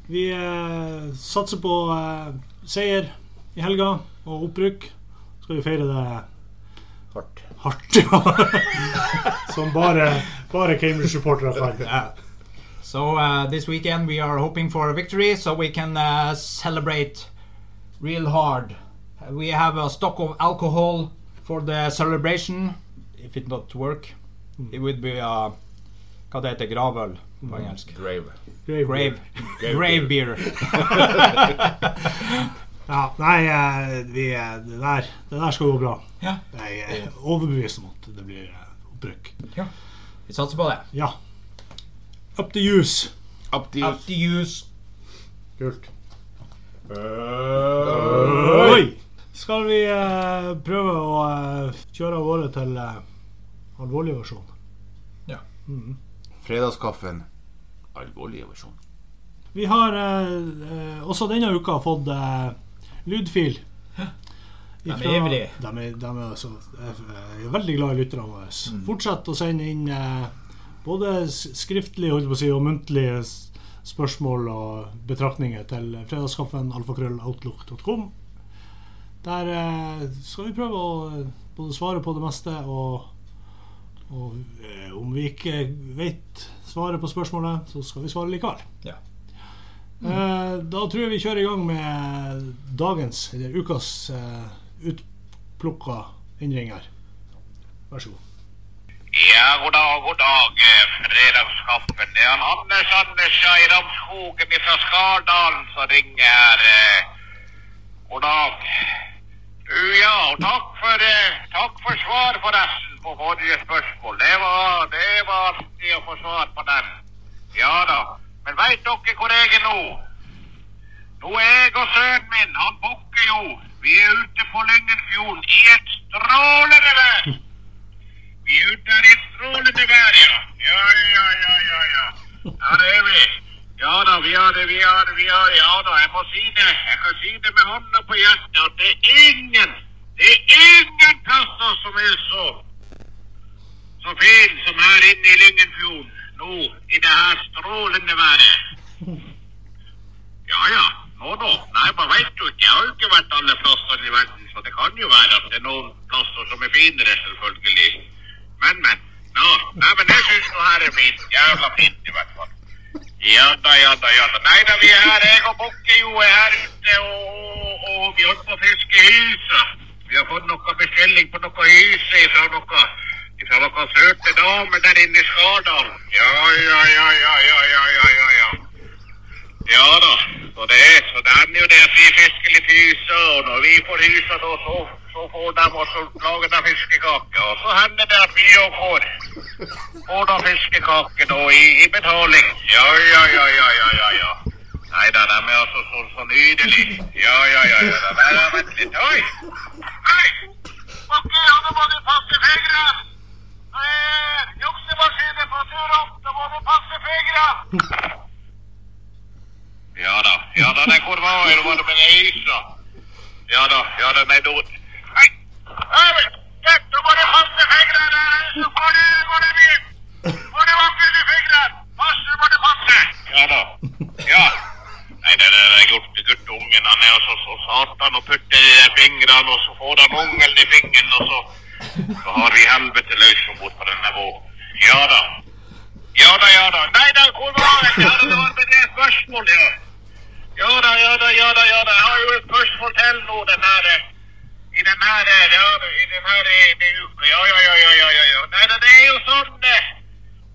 Speaker 1: vi eh, satser på eh, seier i helga og opprykk. Så skal vi feire det
Speaker 3: Hardt.
Speaker 1: hardt. [laughs] Som bare, bare Cambridge-supportere kan.
Speaker 2: So uh, this weekend we are hoping for a victory, so we can uh, celebrate real hard. Uh, We have a stock of alcohol for the celebration. If it not work, it would be a hva det heter gravøl på engelsk.
Speaker 3: Grave.
Speaker 2: Grave,
Speaker 3: Grave
Speaker 2: grave beer. [laughs]
Speaker 1: Ja, nei, eh, vi, eh, det, der, det der skal gå bra.
Speaker 2: Ja.
Speaker 1: Jeg er overbevist om at det blir eh, opprykk.
Speaker 2: Vi satser på det.
Speaker 1: Ja. Up the use.
Speaker 3: Up to
Speaker 2: Up
Speaker 3: you.
Speaker 2: to use.
Speaker 1: Kult. Eh. Oi! Skal vi eh, prøve å eh, kjøre av gårde til eh, alvorlig versjon?
Speaker 3: Fredagskaffen. Alvorlig versjon.
Speaker 1: Vi har eh, eh, også denne uka fått eh, lydfil.
Speaker 2: er
Speaker 1: Ifra-
Speaker 2: ivrige.
Speaker 1: De er, de er altså, jeg jeg er veldig glad i lytterne våre.
Speaker 2: Mm.
Speaker 1: Fortsett å sende inn eh, både s- skriftlig holdt jeg på å si, og muntlige s- spørsmål og betraktninger til fredagskaffen alfakrølloutlook.com. Der eh, skal vi prøve å eh, både svare på det meste, og, og eh, om vi ikke vet svaret på spørsmålet, så skal vi svare likevel.
Speaker 2: Ja.
Speaker 1: Eh, Da tror jeg vi kjører i gang med dagens, eller ukas, eh, utplukka innringer. Vær så god.
Speaker 5: Ja, god dag, god dag. eh, Fredagskaffen. Det er han Anders Andersen i Ramskogen fra Skardalen som ringer her. eh. God dag. Du, ja, og takk for, eh, takk for svar forresten på forrige spørsmål. Det var, det var artig å få svar på den. Ja da. Men veit dere hvor jeg er nå? Nå er jeg og sønnen min, han bukker jo. Vi er ute på Lyngenfjorden i et strålende vær. Vi er ute her i strålende vær, ja. Ja, ja, ja, ja, ja. Ja, det er vi. Ja da, vi har det, vi har det, vi har det. Ja da, jeg må si det. Jeg kan si det med hånda på hjertet at det er ingen, det er ingen plasser som er så, så fin som her inne i Lyngenfjorden nå i det her strålende været. Ja ja, nå da. Nei, man vet jo ikke. Jeg har jo ikke vært alle plasser i verden, så det kan jo være at det er noen plasser som er finere, selvfølgelig. Men, men. Nå. Nei, men jeg syns nå her er fint. Jævla fint, i hvert fall. Ja da, ja da, ja da. Nei da, vi er her. Jeg og Bukke jo er her ute, og, og, og vi holder på å fiske hyse. Vi har fått noe bestilling på noe hyse fra noe fra noen søte damer der inne i Skardalen. Ja, ja, ja, ja, ja, ja, ja, ja, ja. Ja da, så det er så det er jo det at vi fisker litt hyse, og når vi får hysa da, så, så får de også laget av fiskekake. Og så hender det at vi òg får, får da fiskekake da i, i betaling. Ja, ja, ja, ja, ja, ja. ja. Nei da, de er altså så, så nydelige. Ja, ja, ja. ja, da. Nei, da, vent litt. Oi! Hei! Bakke, ja, nå må du passe fingrene! Det er juksemaskiner på tur opp, da må du passe fingrene! Ja da. Ja da, nei, hvor var jeg? Da var det med Isa. Ja da. Ja da, nei, da Hei! Øyvind! Vent, nå må du passe fingrene der, ellers så får du går det vilt. Får du vanker i fingrene? Pass, du må du passe. Ja da. Ja. Nei, det der er gutt, guttungen, han er jo så, så satan og putter i de fingrene, og så får han ungelen i fingeren, og så Så har vi helvete løs om bort på denne våren. Ja da. spørsmål, ja. Ja da, ja da, ja da. ja da. Jeg har jo et spørsmål til nå den her, eh, i den her, eh, ja, i den her eh, med uka. Ja, ja, ja, ja, ja, ja. ja. Nei, det, det er jo sånn, eh,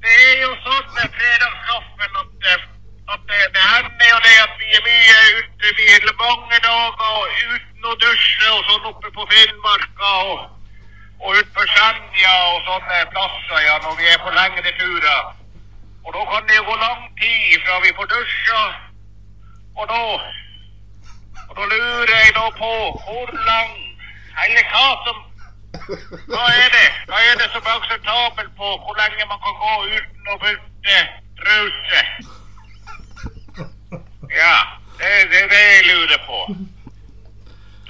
Speaker 5: det er jo sånn med fredagskaffen at, eh, at eh, det hender jo det at vi er mye ute, vi er mange dager og uten å dusje og sånn oppe på Finnmarka og, og ute på Senja og sånne plasser, ja, når vi er på lengre turer. Og da kan det jo gå lang tid fra vi får dusja. Og da, og da lurer jeg da på hvor lang Eller hva som Hva er det Hva er det som er akseptabelt på hvor lenge man kan gå uten å bytte truse? Ja, det er det, det jeg lurer på.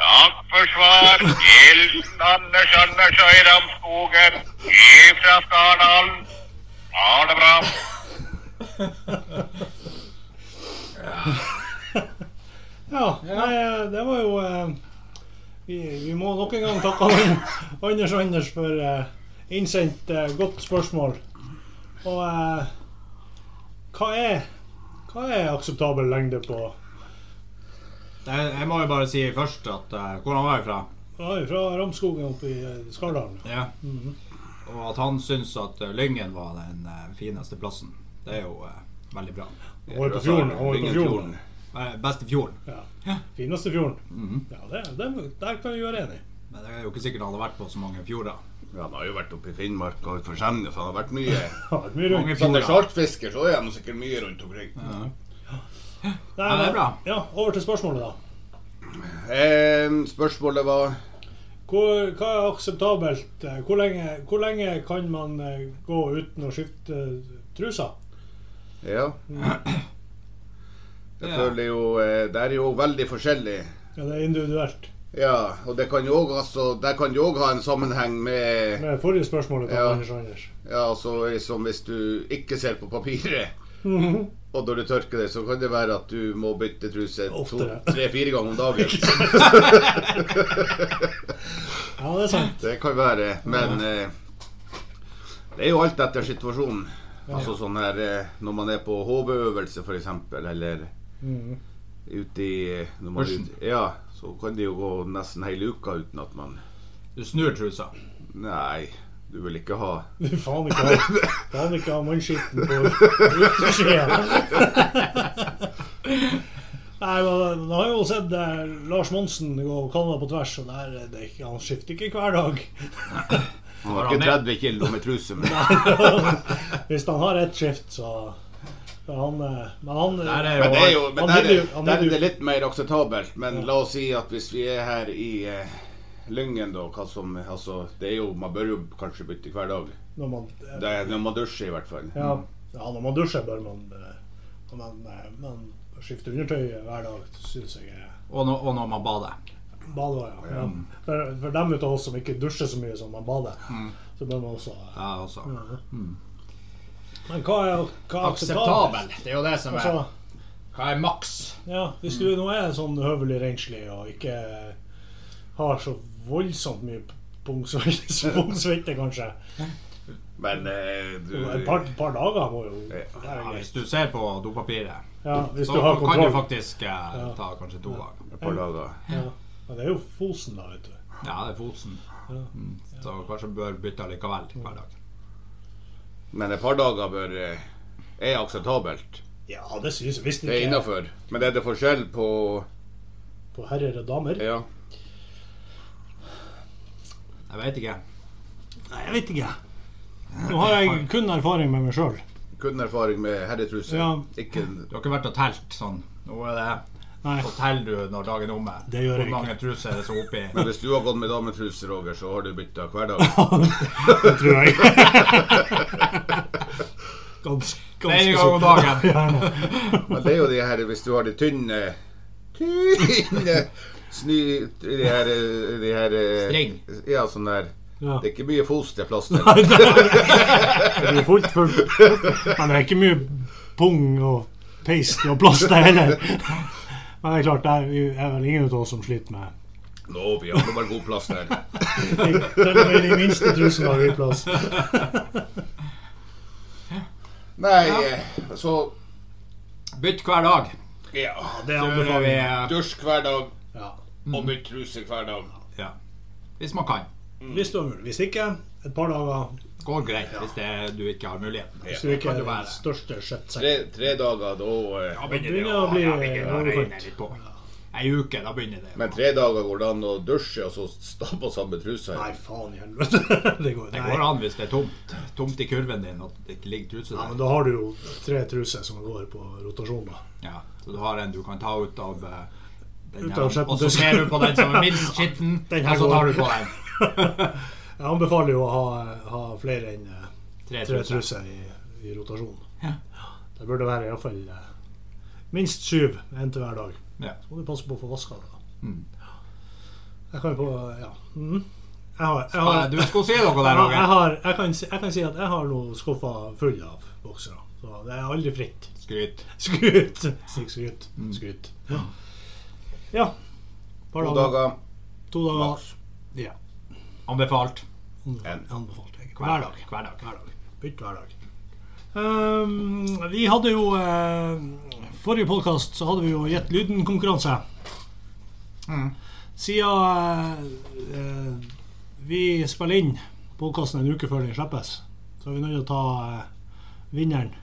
Speaker 5: Takk for svar. Hilsen Anders Anders Øyramskogen ifra Skardalen. Ha det bra.
Speaker 1: Ja, nei, eh, det var jo eh, vi, vi må nok en gang takke han- [laughs] Anders Anders for eh, innsendt eh, godt spørsmål. Og eh, hva er hva er akseptabel lengde på
Speaker 2: Jeg, jeg må jo bare si først at eh, hvor han var ifra.
Speaker 1: Ja, Fra Ramskogen opp i eh, Skardalen.
Speaker 2: Ja. Og at han syns at eh, Lyngen var den eh, fineste plassen. Det er jo eh, veldig bra.
Speaker 1: Han var jo på fjorden. Han var jo på fjorden.
Speaker 2: Eh, Best i fjorden.
Speaker 1: Ja. Fineste fjorden. Ja, det, det, der kan vi være enige.
Speaker 2: Men det er jo ikke sikkert han hadde vært på så mange fjorder.
Speaker 3: Ja, han har jo vært oppe i Finnmark og utenfor Senja, så han har vært
Speaker 1: [laughs]
Speaker 3: mye
Speaker 1: Ja, det er mye rundt.
Speaker 2: Mange
Speaker 3: Som en
Speaker 2: fjorder.
Speaker 3: sjarkfisker så er han sikkert mye rundt omkring.
Speaker 1: Nei,
Speaker 2: Ja, det er
Speaker 1: men-
Speaker 2: bra.
Speaker 1: Ja, over til spørsmålet, da.
Speaker 3: Eh, spørsmålet var
Speaker 1: Hvor, hva er akseptabelt? eh, Hvor lenge, hvor lenge kan man eh, gå uten å skifte eh, trusa?
Speaker 3: Ja. Jeg føler jo eh, Det er jo veldig forskjellig.
Speaker 1: Ja, det er individuelt.
Speaker 3: Ja, og det kan jo òg altså, det kan jo også ha en sammenheng med
Speaker 1: Med forrige spørsmålet til
Speaker 3: Ja.
Speaker 1: Anders Anders.
Speaker 3: Ja, altså som hvis du ikke ser på papiret,
Speaker 1: Mhm.
Speaker 3: og når du tørker det, så kan det være at du må bytte truse
Speaker 1: Oftere.
Speaker 3: tre-fire ganger om
Speaker 1: [laughs]
Speaker 3: dagen. [laughs]
Speaker 1: Ja, det er sant.
Speaker 3: Det kan være, men eh, det er jo alt etter situasjonen. Altså sånn her eh, når man er på HV-øvelse, f.eks., eller
Speaker 1: Mhm.
Speaker 3: ute i eh, når man er
Speaker 2: Børsen.
Speaker 3: ute- Ja, så kan det jo gå nesten hele uka uten at man
Speaker 2: Du snur trusa.
Speaker 3: Nei, du vil ikke ha
Speaker 1: Du faen ikke ha, faen ikke ha mannskitten på uteskjea. Nei, men nå har jeg jo sett eh, Lars Monsen gå Canada på tvers, og der, eh, det er ikke, han skifter ikke hver dag.
Speaker 3: Han har
Speaker 2: Har han
Speaker 3: ikke 30 kilo med truse,
Speaker 1: [laughs]
Speaker 3: men
Speaker 1: Hvis han har ett skift, så så han, eh, Men han eh,
Speaker 2: Der er
Speaker 3: Men det er jo,
Speaker 1: Han
Speaker 3: men der,
Speaker 1: ville
Speaker 3: er,
Speaker 1: jo- han
Speaker 3: der er
Speaker 1: ville
Speaker 3: det
Speaker 1: jo-
Speaker 3: litt mer akseptabelt. Men la oss si at hvis vi er her i eh, Lyngen, da hva som, altså, det er jo, Man bør jo kanskje bytte hver dag.
Speaker 1: når man, eh,
Speaker 3: Det er når man dusjer, i hvert fall.
Speaker 1: ja, ja, når man dusjer, bør man eh, og man, eh, man skifter undertøy hver dag, syns jeg. er
Speaker 2: Og, når- og når man bader.
Speaker 1: Bader, ja. ja. For, for dem ute av oss som ikke dusjer så mye som man bader, så bør man også eh,
Speaker 2: Ja, altså.
Speaker 1: Men hva er, hva er
Speaker 2: Akseptabel.
Speaker 1: akseptabelt?
Speaker 2: Det er jo det som
Speaker 1: Altså,
Speaker 2: er Hva er maks?
Speaker 1: ja, hvis du nå er sånn høvelig renslig og ikke har så voldsomt mye [laughs] pungsvette, pungsvette kanskje
Speaker 3: Men eh, du
Speaker 1: Et par, par dager må jo det er
Speaker 2: Ja,
Speaker 1: greit.
Speaker 2: hvis du ser på dopapiret,
Speaker 1: Ja, hvis
Speaker 2: så
Speaker 1: du har
Speaker 2: kan du
Speaker 1: kontroll.
Speaker 2: faktisk eh, ta kanskje to dager.
Speaker 3: på laga.
Speaker 1: Ja. Men det er jo Fosen, da, vet du.
Speaker 2: Ja, det er Fosen. Mm. Så kanskje bør bytte likevel hver dag.
Speaker 3: Men et par dager bør eh, er akseptabelt.
Speaker 1: Ja, det synes jeg. Hvis det
Speaker 3: Det er
Speaker 1: ikke er
Speaker 3: innafor. Men er det forskjell på
Speaker 1: på herrer og damer
Speaker 3: Ja.
Speaker 2: Jeg vet ikke.
Speaker 1: Nei, jeg vet ikke. Nå har jeg kun erfaring med meg sjøl.
Speaker 3: Kun erfaring med herretruse.
Speaker 1: Ja.
Speaker 3: Ikke
Speaker 2: Du har ikke vært og telt sånn. Nå er det
Speaker 1: Nei. [laughs]
Speaker 2: Så teller du når dagen er omme.
Speaker 1: Det gjør jeg
Speaker 2: Hvor mange truser er det som er [laughs] oppi?
Speaker 3: men hvis du har gått med dametruse, Roger, så har du bytta hver
Speaker 1: [laughs]
Speaker 3: dag.
Speaker 1: Det tror jeg. Ganske, sånn.
Speaker 2: Flere
Speaker 1: ganske
Speaker 2: ganger om dagen.
Speaker 3: Men det er jo de her Hvis du har de tynne Tynne Sny De her, de her eh,
Speaker 2: Streng.
Speaker 3: Ja, sånn der
Speaker 1: Ja.
Speaker 3: Det er ikke mye fosterplass der.
Speaker 1: Det blir fullt, fullt. Men det er ikke mye pung og peist og plass der heller. Men det er klart, det er, vi er vel ingen av oss som sliter med
Speaker 3: Nå, vi har nå bare god plass der.
Speaker 1: Til og med de minste trusen har vi [laughs] plass.
Speaker 3: Nei, eh, så
Speaker 2: Bytt hver dag.
Speaker 3: Ja.
Speaker 1: Det
Speaker 2: Før vi, eh,
Speaker 1: anbefaler jeg.
Speaker 3: Dusj hver dag
Speaker 1: Ja.
Speaker 3: og bytt truse hver dag.
Speaker 2: ja. Hvis man kan.
Speaker 1: Hvis det var mulig. Hvis ikke, et par dager.
Speaker 2: Går greit hvis det, du ikke har muligheten.
Speaker 1: Hvis du ikke
Speaker 2: kan
Speaker 1: er
Speaker 2: det være.
Speaker 1: den største
Speaker 3: Tre,
Speaker 1: sjettsekken.
Speaker 3: tre dager, da eh,
Speaker 2: Da begynner det
Speaker 1: Begynner å
Speaker 2: å
Speaker 1: bli eh,
Speaker 2: ja, begynner det å
Speaker 1: overkant.
Speaker 2: regne litt på. Ei uke, da begynner det.
Speaker 3: Men tre dager går det an å dusje og så stå på samme trusa?
Speaker 1: Nei, faen i helvete. [laughs] Det går,
Speaker 2: Det
Speaker 1: nei.
Speaker 2: går an hvis det er tomt. Tomt i kurven din og det ikke ligger truse
Speaker 1: Ja, men
Speaker 2: der.
Speaker 1: da har du jo tre truser som går på rotasjon, da.
Speaker 2: Ja, så du har en du kan ta ut av eh, den
Speaker 1: Ut
Speaker 2: her,
Speaker 1: av skitten
Speaker 2: og så
Speaker 1: tusk.
Speaker 2: ser du på den som er minst skitten,
Speaker 1: [laughs] Den
Speaker 2: og
Speaker 1: her
Speaker 2: så tar
Speaker 1: går.
Speaker 2: du på
Speaker 1: [laughs]
Speaker 2: den.
Speaker 1: Jeg anbefaler jo å ha, ha flere enn eh,
Speaker 2: Tre
Speaker 1: tre
Speaker 2: truser.
Speaker 1: truser i, i rotasjon.
Speaker 2: Ja.
Speaker 1: Det burde være iallfall eh, minst syv, én til hver dag.
Speaker 2: Ja.
Speaker 1: Så må du passe på å få vaska det. da.
Speaker 2: Mm.
Speaker 1: Jeg kan jo på Ja. Mhm. Jeg har, jeg
Speaker 2: Ja,
Speaker 1: har,
Speaker 2: Du skulle si
Speaker 1: Ja,
Speaker 2: noe der,
Speaker 1: jeg,
Speaker 2: Roger.
Speaker 1: har, jeg, kan, si- jeg kan si at jeg har noe skuffa full av boksere. Så det er aldri fritt.
Speaker 2: Skryt.
Speaker 1: Skryt! Snikk skryt.
Speaker 2: Mm.
Speaker 1: Skryt. Ja. Par
Speaker 3: To
Speaker 1: dager.
Speaker 3: dager.
Speaker 1: To dager.
Speaker 3: maks.
Speaker 1: Ja.
Speaker 2: Anbefalt.
Speaker 1: Anbefalt. Anbefalt. jeg.
Speaker 2: Hver
Speaker 1: Hver dag.
Speaker 2: dag. Hver dag.
Speaker 1: Hver dag. Bytt hver dag. Ehm, vi hadde jo eh, Forrige podkast så hadde vi jo Gjett lyden-konkurranse.
Speaker 2: Mm.
Speaker 1: Siden eh, eh, vi spiller inn podkasten en uke før den slippes, så er vi nødt til å ta eh, vinneren.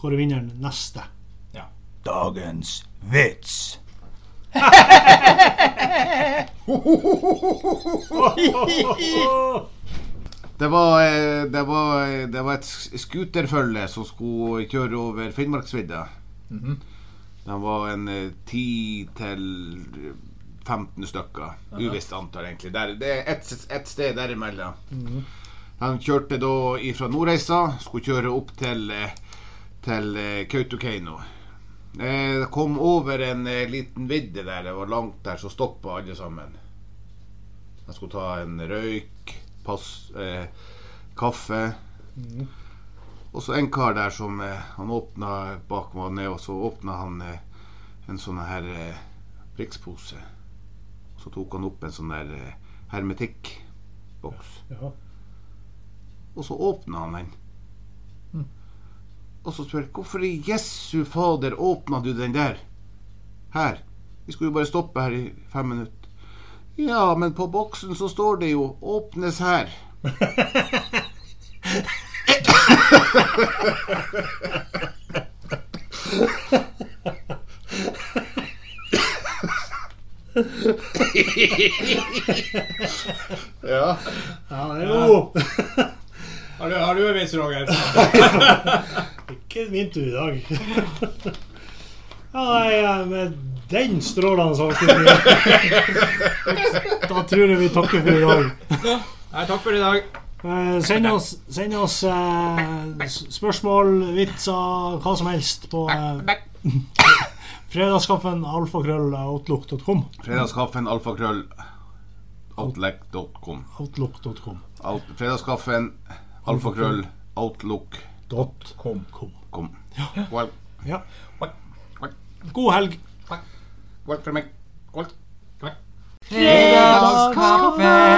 Speaker 1: Hvor er vinneren neste?
Speaker 2: Ja. Dagens vits.
Speaker 3: Det var, eh, det var, eh, det var et sk- skuterfølge som skulle kjøre over Finnmarksvidda. De var en eh, 10 til 15 stykker. Uvisst antall, egentlig. Der, det er ett et sted derimellom. De kjørte da ifra Nordreisa, skulle kjøre opp til, eh, til eh, Kautokeino. Eh, Det kom over en eh, liten vidde der, det var langt der, så stoppa alle sammen. De skulle ta en røyk, pass, eh, kaffe. Og så en kar der som eh, han åpna bak meg ned, og så åpna han eh, en sånn her eh, rikspose. Så tok han opp en sånn der eh, hermetikkboks.
Speaker 1: Ja.
Speaker 3: Og så åpna han den. Og så spør jeg hvorfor i Jesu fader åpna du den der? Her. Vi skulle jo bare stoppe her i fem minutter. Ja, men på boksen så står det jo 'åpnes her'. ja.
Speaker 1: Ja, det er jo
Speaker 2: Har du, har du en vits, Roger?
Speaker 1: Ikke min tur i dag. [laughs] Ja, nei, ja, med den strålende saken Da tror jeg vi takker for i dag.
Speaker 2: Nei, takk for i dag.
Speaker 1: Eh, send oss, send oss eh, s- spørsmål, vitser, hva som helst på eh, [laughs] fredagskaffen alfakrølloutlook.com.
Speaker 3: Fredagskaffen alfakrøll outlook.com.
Speaker 1: Outlook.com.
Speaker 3: Alt, fredagskaffen alfakrøll outlook.com.
Speaker 1: Dot com.
Speaker 3: Well,
Speaker 1: Ja.
Speaker 2: Takk.
Speaker 1: God helg.
Speaker 3: well for meg. Well.
Speaker 2: Takk.
Speaker 6: Fredagskaffe.